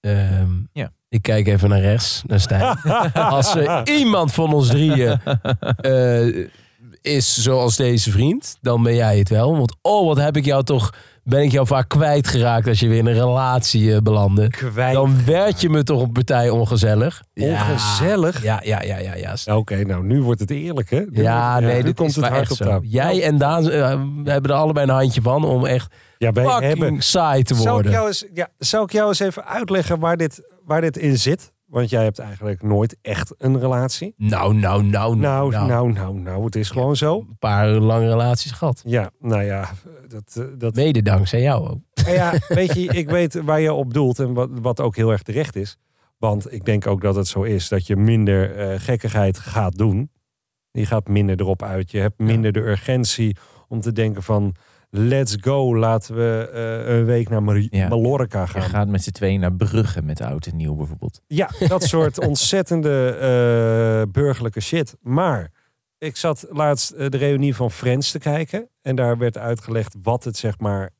S3: Ehm,
S4: Ja.
S3: Ik kijk even naar rechts, naar Stijn. Als er iemand van ons drieën eh, is zoals deze vriend, dan ben jij het wel. Want oh, wat heb ik jou toch, ben ik jou vaak kwijtgeraakt als je weer in een relatie eh, belandde.
S5: Kwijt.
S3: Dan werd je me toch een partij ongezellig.
S5: Ongezellig?
S3: Ja, ja, ja, ja. ja.
S5: Nou, Oké, nou nu wordt het eerlijk, hè? Nu wordt-
S3: Ja, nee,
S5: nu
S3: dit
S5: komt
S3: is
S5: het
S3: maar
S5: hard
S3: echt
S5: op
S3: zo.
S5: tafel. Nou.
S3: Jij en Daan eh, hebben er allebei een handje van om echt
S5: Ja, wij hebben
S3: fucking saai te
S5: Zou ik,
S3: worden.
S5: jou eens, ja, zou ik jou eens even uitleggen waar dit, waar dit in zit? Want jij hebt eigenlijk nooit echt een relatie.
S3: Nou, nou, nou,
S5: Nou, nou, nou, nou, het is gewoon zo.
S3: Een paar lange relaties gehad.
S5: Ja, nou ja, dat, eh, dat,
S3: Mede dankzij jou ook.
S5: Maar Nou ja, weet je, ik weet waar je op doelt en wat, wat ook heel erg terecht is. Want ik denk ook dat het zo is dat je minder eh, gekkigheid gaat doen. Je gaat minder erop uit. Je hebt minder de urgentie om te denken van... Let's go, laten we eh, een week naar Mar-
S4: Ja.
S5: Mallorca gaan.
S4: Je gaat met z'n tweeën naar Brugge met oud en nieuw bijvoorbeeld.
S5: Ja, dat soort ontzettende eh, burgerlijke shit. Maar ik zat laatst eh, de reunie van Friends te kijken. En daar werd uitgelegd wat het zeg maar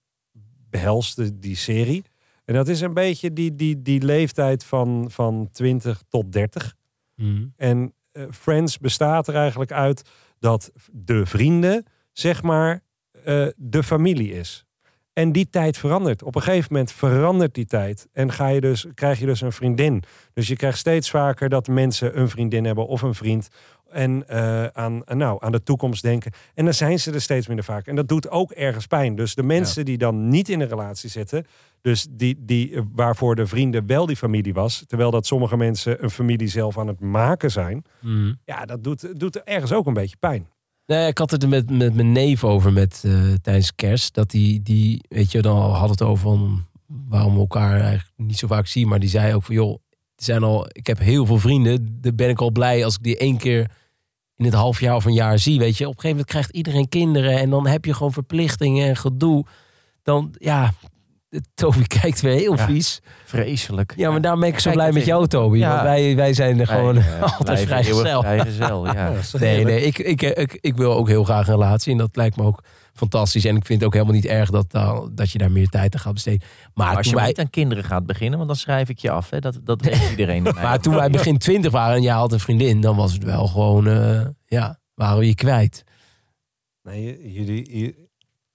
S5: behelst, de- die serie. En dat is een beetje die, die, die leeftijd van, van 20 tot 30. En eh, Friends bestaat er eigenlijk uit dat de vrienden, zeg maar, eh, de familie is. En die tijd verandert. Op een gegeven moment verandert die tijd. En ga je dus, krijg je dus een vriendin. Dus je krijgt steeds vaker dat mensen een vriendin hebben of een vriend. En eh, aan, nou, aan de toekomst denken. En dan zijn ze er steeds minder vaak. En dat doet ook ergens pijn. Dus de mensen die dan niet in een relatie zitten. Dus die, die, eh, waarvoor de vrienden wel die familie was. Terwijl dat sommige mensen een familie zelf aan het maken zijn.
S4: Mhm.
S5: Ja, dat doet, doet ergens ook een beetje pijn.
S3: Nee, ik had het er met, met mijn neef over met, eh, tijdens kerst. Dat die, die, weet je, dan had het over van waarom we elkaar eigenlijk niet zo vaak zien. Maar die zei ook van, joh, er zijn al, ik heb heel veel vrienden. Dan ben ik al blij als ik die één keer in het half jaar of een jaar zie. Weet je, op een gegeven moment krijgt iedereen kinderen. En dan heb je gewoon verplichtingen en gedoe. Dan, ja, Toby kijkt weer heel
S4: Ja.
S3: vies.
S4: Vreselijk.
S3: Ja, maar daarom ben ik zo
S4: Kijk
S3: blij
S4: het
S3: met
S4: in.
S3: jou, Toby.
S4: Ja.
S3: Want wij, wij zijn er gewoon
S4: Wij, eh,
S3: altijd
S4: blijven eeuwig
S3: vrijgezel.
S4: vrijgezel, ja.
S3: Nee, nee ik, ik, eh, ik, ik wil ook heel graag een relatie. En dat lijkt me ook fantastisch. En ik vind het ook helemaal niet erg dat, eh, dat je daar meer tijd aan gaat besteden. Maar,
S4: Maar als
S3: toen,
S4: je maar
S3: wij,
S4: niet aan kinderen gaat beginnen, want dan schrijf ik je af. Hè. Dat, dat weet iedereen.
S3: maar toen wij begin twintig waren en jij had een vriendin... dan was het wel gewoon... eh, ja, waren we je kwijt.
S5: Nee, jullie, jullie,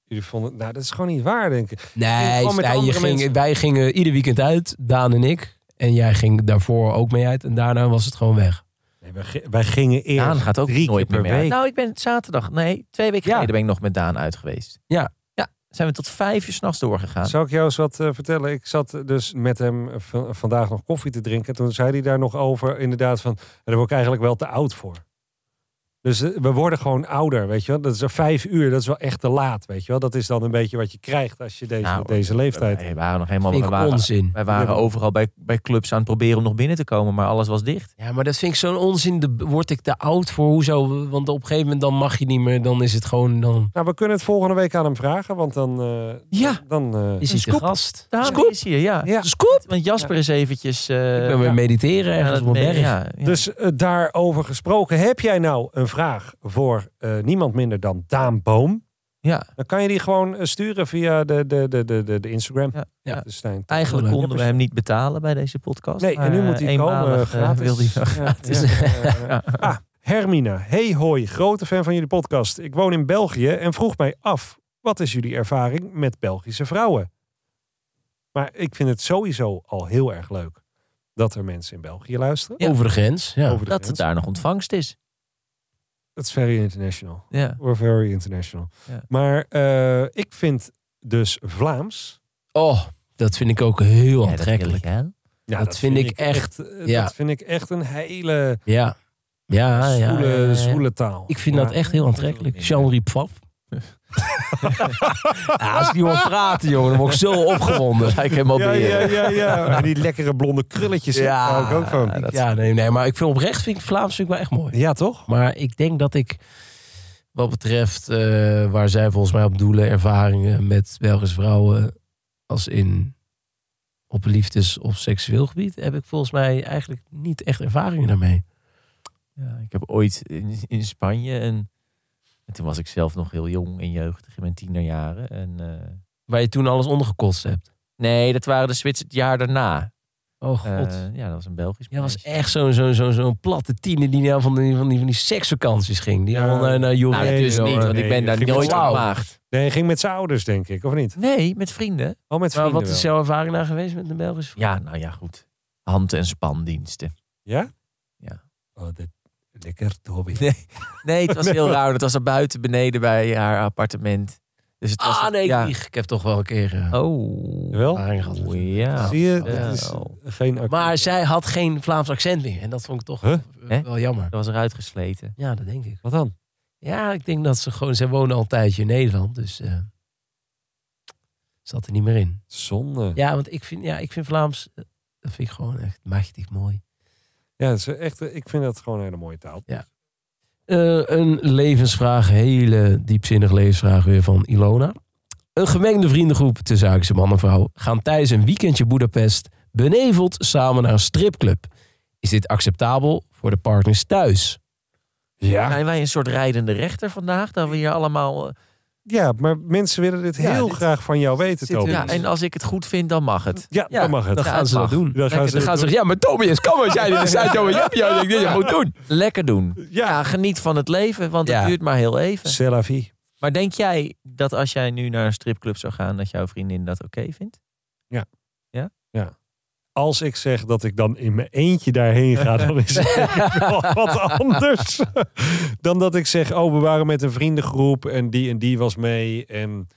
S5: jullie vonden... Nou, dat is gewoon niet waar, denk ik. ging
S3: Nee,
S5: gewoon met
S3: Stijn, je
S5: andere
S3: ging-
S5: mensen.
S3: wij gingen ieder weekend uit. Daan en ik. En jij ging daarvoor ook mee uit. En daarna was het gewoon weg.
S5: Nee, wij, gi- wij gingen eerst
S4: Daan gaat ook
S5: drie
S4: nooit
S5: keer per
S4: meer mee uit.
S5: week.
S4: Nou, ik ben zaterdag, nee, twee weken
S3: Ja.
S4: geleden ben ik nog met Daan uit geweest.
S3: Ja.
S4: Ja, zijn we tot vijf uur s'nachts doorgegaan.
S5: Zou ik jou eens wat eh, vertellen? Ik zat eh, dus met hem eh, v- vandaag nog koffie te drinken. Toen zei hij daar nog over, inderdaad, van... Daar word ik eigenlijk wel te oud voor. Dus eh, we worden gewoon ouder, weet je wel. Dat is er vijf uur, dat is wel echt te laat, weet je wel. Dat is dan een beetje wat je krijgt als je deze,
S4: Nou,
S5: deze leeftijd...
S4: Wij waren nog helemaal,
S3: Vind
S4: we
S3: ik
S4: waren,
S3: onzin.
S4: wij waren overal bij, bij clubs aan het proberen om nog binnen te komen, maar alles was dicht.
S3: Ja, maar dat vind ik zo'n onzin. De- Word ik te oud voor? Hoezo? Want op een gegeven moment dan mag je niet meer. Dan is het gewoon... Dan
S5: Nou, we kunnen het volgende week aan hem vragen, want dan... eh,
S4: Ja.
S5: Dan, eh,
S3: is
S4: Een
S3: hij te
S4: scoop.
S3: gast.
S4: Daan
S3: Scoop.
S4: is hier, ja.
S5: ja.
S3: Scoop.
S4: Want Jasper is eventjes... eh,
S3: Ik ben weer
S4: ja,
S3: mediteren
S4: aan
S3: ergens
S4: het
S3: op een
S4: me-
S3: berg.
S4: ja, ja.
S5: Dus eh, daarover gesproken, heb jij nou een vraag voor eh, niemand minder dan Daan Boom?
S4: ja.
S5: Dan kan je die gewoon eh, sturen via de, de, de, de, de, de Instagram.
S4: Ja.
S3: Ja.
S5: Dus Stijn.
S4: Eigenlijk
S3: Leuk.
S4: konden we hem niet betalen bij deze podcast.
S5: Nee, en nu
S4: maar,
S5: moet hij
S4: eh,
S5: komen.
S4: eenmalig, eh,
S5: gratis.
S4: wil hij-
S5: Ja, ja, eh, ah, Hermina. Hey hoi, grote fan van jullie podcast. Ik woon in België en vroeg mij af, wat is jullie ervaring met Belgische vrouwen? Maar ik vind het sowieso al heel erg leuk dat er mensen in België luisteren.
S3: Over de grens. Ja.
S5: Over de
S4: dat het
S5: grens.
S4: daar nog ontvangst is.
S5: Dat is very international.
S4: Ja.
S5: We're very international.
S4: Ja.
S5: Maar eh, ik vind dus Vlaams.
S3: Oh, dat vind ik ook heel aantrekkelijk.
S4: Ja, dat wil ik, hè?
S5: Ja,
S3: Dat vind ik echt,
S5: eh,
S3: ja.
S5: Dat vind ik echt een hele
S3: Ja. Ja, ja,
S5: zwoele,
S3: ja, ja.
S5: zwoele taal.
S3: Ik vind
S5: Ja.
S3: dat echt heel aantrekkelijk. Jean-Marie Pfaff. ja, als die hoort praten, jongen, dan word ik zo opgewonden.
S4: Ga ik helemaal
S5: Ja,
S4: beren.
S5: ja, ja, ja. En die lekkere blonde krulletjes. hè,
S3: Ja,
S5: daar hou ik ook van.
S4: dat-
S3: Ja, nee, nee, maar ik vind oprecht vind ik Vlaams vind ik wel echt mooi.
S5: Ja, toch?
S3: Maar ik denk dat ik, wat betreft eh, waar zij volgens mij op doelen, ervaringen met Belgische vrouwen, als in op liefdes- of seksueel gebied, heb ik volgens mij eigenlijk niet echt ervaringen daarmee.
S4: Ja, ik heb ooit in, in Spanje een. En toen was ik zelf nog heel jong en jeugdig in mijn tienerjaren. En, eh,
S3: Waar je toen alles ondergekost hebt.
S4: nee, dat waren de Zwitsers het jaar daarna.
S3: Oh god.
S4: Eh, ja, dat was een Belgisch
S3: Ja, dat was
S4: meisje.
S3: echt zo'n zo'n zo'n zo'n platte tiener die nou van die, van die, van die seksvakanties ging. Die
S5: Ja.
S3: allemaal naar, naar Joerie.
S4: Nou, dat
S5: Nee,
S4: dus
S5: joh,
S4: niet, want ik ben
S5: nee,
S4: daar
S5: ging
S3: met
S4: nooit
S3: z'n allen.
S4: ontmaagd.
S5: Nee, hij ging met zijn ouders, denk ik, of niet?
S4: Nee, met vrienden.
S5: Al met
S3: maar
S5: vrienden
S3: Nou, wat is jouw ervaring daar geweest met de Belgische vrouw?
S4: Ja, nou ja, goed. Hand- en spandiensten.
S5: wel. Ja?
S4: Ja.
S5: Oh, dat... Lekker, Toby.
S4: Nee, nee, het was heel raar. Het was er buiten beneden bij haar appartement. Dus het was
S3: Ah nee, ik
S4: ja.
S3: lieg. Ik heb toch wel een keer eh,
S4: Oh,
S5: Wel?
S3: ervaring gehad.
S4: Oeh, ja.
S5: Zie je? Dat
S4: ja.
S5: is geen...
S3: Maar zij had geen Vlaams accent meer. En dat vond ik toch
S5: Huh?
S3: eh, wel jammer.
S4: Dat was eruit gesleten.
S3: Ja, dat denk ik.
S5: Wat dan?
S3: Ja, ik denk dat ze gewoon... Zij wonen al een tijdje in Nederland, dus... eh zat er niet meer in.
S5: Zonde.
S3: Ja, want ik vind, ja, ik vind Vlaams... eh, Dat vind ik gewoon echt machtig mooi.
S5: Ja, het is echt, ik vind dat gewoon een hele mooie taal.
S3: Eh, een levensvraag, hele diepzinnige levensvraag weer van Ilona. Een gemengde vriendengroep tussen Haakse man en vrouw gaan tijdens een weekendje Boedapest beneveld samen naar een stripclub. Is dit acceptabel voor de partners thuis?
S5: Ja.
S4: Zijn wij een soort rijdende rechter vandaag? Dat we hier allemaal... eh,
S5: Ja, maar mensen willen dit
S4: Ja,
S5: heel
S4: dit-
S5: graag van jou weten,
S3: zit er-
S5: Toby.
S4: ja, en als ik het goed vind, dan mag het.
S5: Ja,
S4: Ja,
S5: dan mag het.
S3: Dan gaan ze dat
S4: mag.
S3: doen.
S5: Dan gaan ze
S3: Dan
S5: dit
S3: gaan ze zeggen, ja, maar Tobias, kom als jij dit zei, Tobias, ja, ja, ik denk dat je moet doen.
S4: Lekker doen.
S5: Ja.
S4: Ja, geniet van het leven, want
S3: Ja.
S4: het duurt maar heel even.
S5: C'est la vie.
S4: Maar denk jij dat als jij nu naar een stripclub zou gaan, dat jouw vriendin dat oké vindt?
S5: Als ik zeg dat ik dan in mijn eentje daarheen ga, dan is het denk ik wel wat anders. Dan dat ik zeg, oh, we waren met een vriendengroep en die en die was mee. En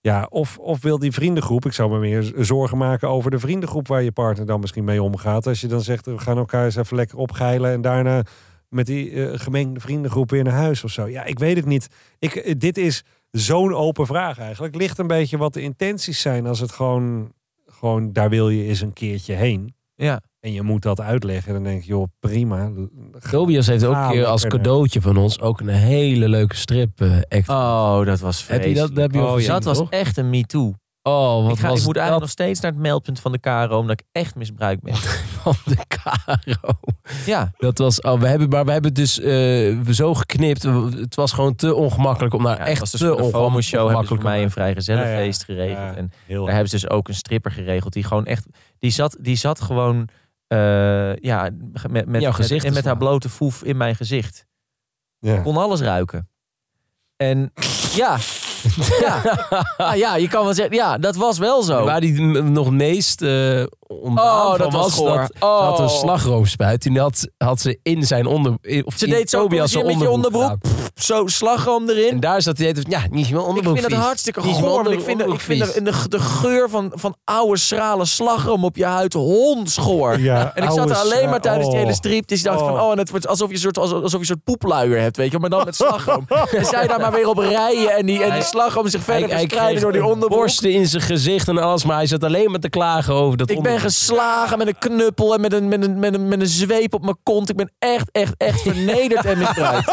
S5: ja, of, of wil die vriendengroep, ik zou me meer zorgen maken over de vriendengroep waar je partner dan misschien mee omgaat. Als je dan zegt, we gaan elkaar eens even lekker opgeilen en daarna met die eh, gemengde vriendengroep weer naar huis of zo. Ja, ik weet het niet. Ik, eh, dit is zo'n open vraag eigenlijk. Ligt een beetje wat de intenties zijn als het gewoon, gewoon daar wil je eens een keertje heen.
S4: Ja.
S5: En je moet dat uitleggen. Dan denk je, joh, prima.
S3: Tobias heeft ook een keer als cadeautje van ons ook een hele leuke strip eh, act.
S4: Oh, dat was
S3: heb je dat,
S4: vreselijk.
S3: dat heb je al
S4: Oh,
S3: gezien,
S4: dat was
S3: toch?
S4: echt een me too.
S3: Oh, wat
S4: Ik, ga,
S3: was
S4: ik moet eigenlijk nog
S3: dat
S4: steeds naar het meldpunt van de KRO, omdat ik echt misbruikt ben.
S3: van de Caro?
S4: ja.
S3: Dat was, oh, we hebben, maar we hebben het dus eh, zo geknipt. Het was gewoon te ongemakkelijk om naar
S4: Ja,
S3: echt
S4: was dus
S3: te
S4: voor de FOMO
S3: ongemakkelijk
S4: show hebben ze voor mij
S3: om-
S4: een vrijgezellenfeest
S5: Ja, ja.
S4: geregeld.
S5: Ja.
S4: En
S5: Heel
S4: daar hebben ze dus ook een stripper geregeld. Die gewoon echt. Die zat, die zat gewoon. eh, ja, met, met,
S3: jouw
S4: met-
S3: gezicht
S4: en
S3: te
S4: met haar
S3: slaan.
S4: blote foef in mijn gezicht.
S5: Ja.
S4: Kon alles ruiken. En ja. Ja. Ah, ja, je kan wel zeggen. Ja, dat was wel zo.
S3: Waar die m- nog het meest eh ontdaan
S4: Oh,
S3: van
S4: dat was Oh.
S3: was,
S4: goor.
S3: dat ze had een slagroomspuit. Die had, had ze in zijn onder... in- Of
S4: Ze
S3: in
S4: deed zo
S3: Tobias'
S4: met je onderbroek.
S3: gedaan.
S4: Zo slagroom erin.
S3: En daar zat hij... Ja, niet meer
S4: Ik
S3: onderbroek
S4: vind het
S3: vies.
S4: hartstikke
S3: Niet meer
S4: goor. want Ik
S3: onder-
S4: vind, de, ik
S3: onderbroek
S4: vind
S3: vies.
S4: de, de, de geur van, van oude schrale slagroom op je huid hondschoor.
S5: Ja,
S4: En ik zat
S5: oude
S4: er alleen
S5: sla-
S4: maar tijdens die hele
S5: oh.
S4: strip. Dus ik dacht van,
S5: Oh.
S4: oh, en het wordt alsof je een soort, alsof je een soort poepluier hebt, weet je. wel, Maar dan met slagroom. en zij daar maar weer op rijden en die, en die slagroom zich verder
S3: Hij- hij
S4: verspreiden
S3: kreeg
S4: door die onderbroek.
S3: Borsten in zijn gezicht en alles, maar hij zat alleen maar te klagen over dat
S4: Ik ben
S3: onderbroek.
S4: geslagen met een knuppel en met een, met, een, met, een, met een zweep op mijn kont. Ik ben echt, echt, echt vernederd en misbruikt.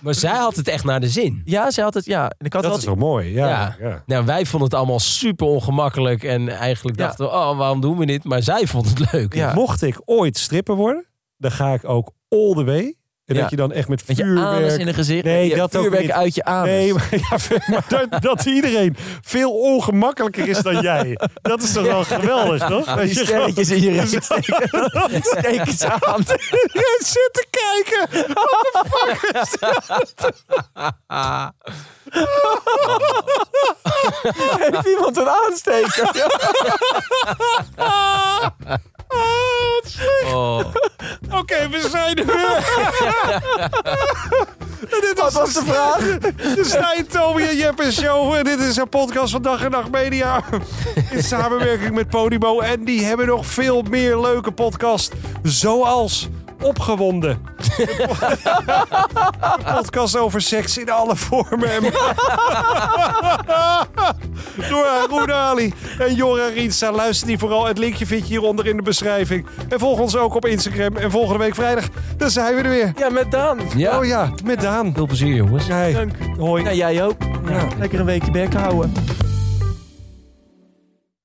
S3: Maar zij had het echt naar de zin.
S4: Ja, ze had het, ja. En ik had
S5: Dat
S4: wel
S5: is toch mooi? Ja. ja.
S3: Ja. Nou, wij vonden het allemaal super ongemakkelijk en eigenlijk
S4: Ja.
S3: dachten we, oh, waarom doen we dit? Maar zij vond het leuk.
S4: Ja.
S5: Mocht ik ooit stripper worden, dan ga ik ook all the way. En
S4: Ja.
S5: dat je dan echt met
S4: met je anus
S5: vuurwerk...
S4: in een gezicht.
S5: Nee,
S4: je
S5: dat ook
S4: vuurwerk
S5: niet.
S4: uit je anus.
S5: Nee, maar, ja, maar dat, dat iedereen veel ongemakkelijker is dan jij. Dat is toch wel geweldig, toch? Dat
S4: Die
S5: je gewoon-
S4: sterretjes in je reet steken. Steek het aan.
S5: Jij zit te kijken.
S4: Heeft iemand een aansteker?
S3: Oh.
S5: Oké, we zijn er weer. En dit was,
S4: was de vraag?
S5: de Stijn, Toby en Jeppe Show. En dit is een podcast van Dag en Nacht Media. In samenwerking met Podimo. En die hebben nog veel meer leuke podcasts. Zoals Opgewonden. Een podcast over seks in alle vormen. En... Door Haroun Ali en Jorra Rietsa. Luister die vooral. Het linkje vind je hieronder in de beschrijving. En volg ons ook op Instagram. En volgende week vrijdag, dan zijn we er weer.
S4: Ja, met Daan.
S3: Ja,
S5: Oh ja, met Daan.
S3: veel plezier jongens.
S5: Hey,
S4: Dank.
S5: hoi.
S4: Nou, jij ook. Lekker een weekje bek houden.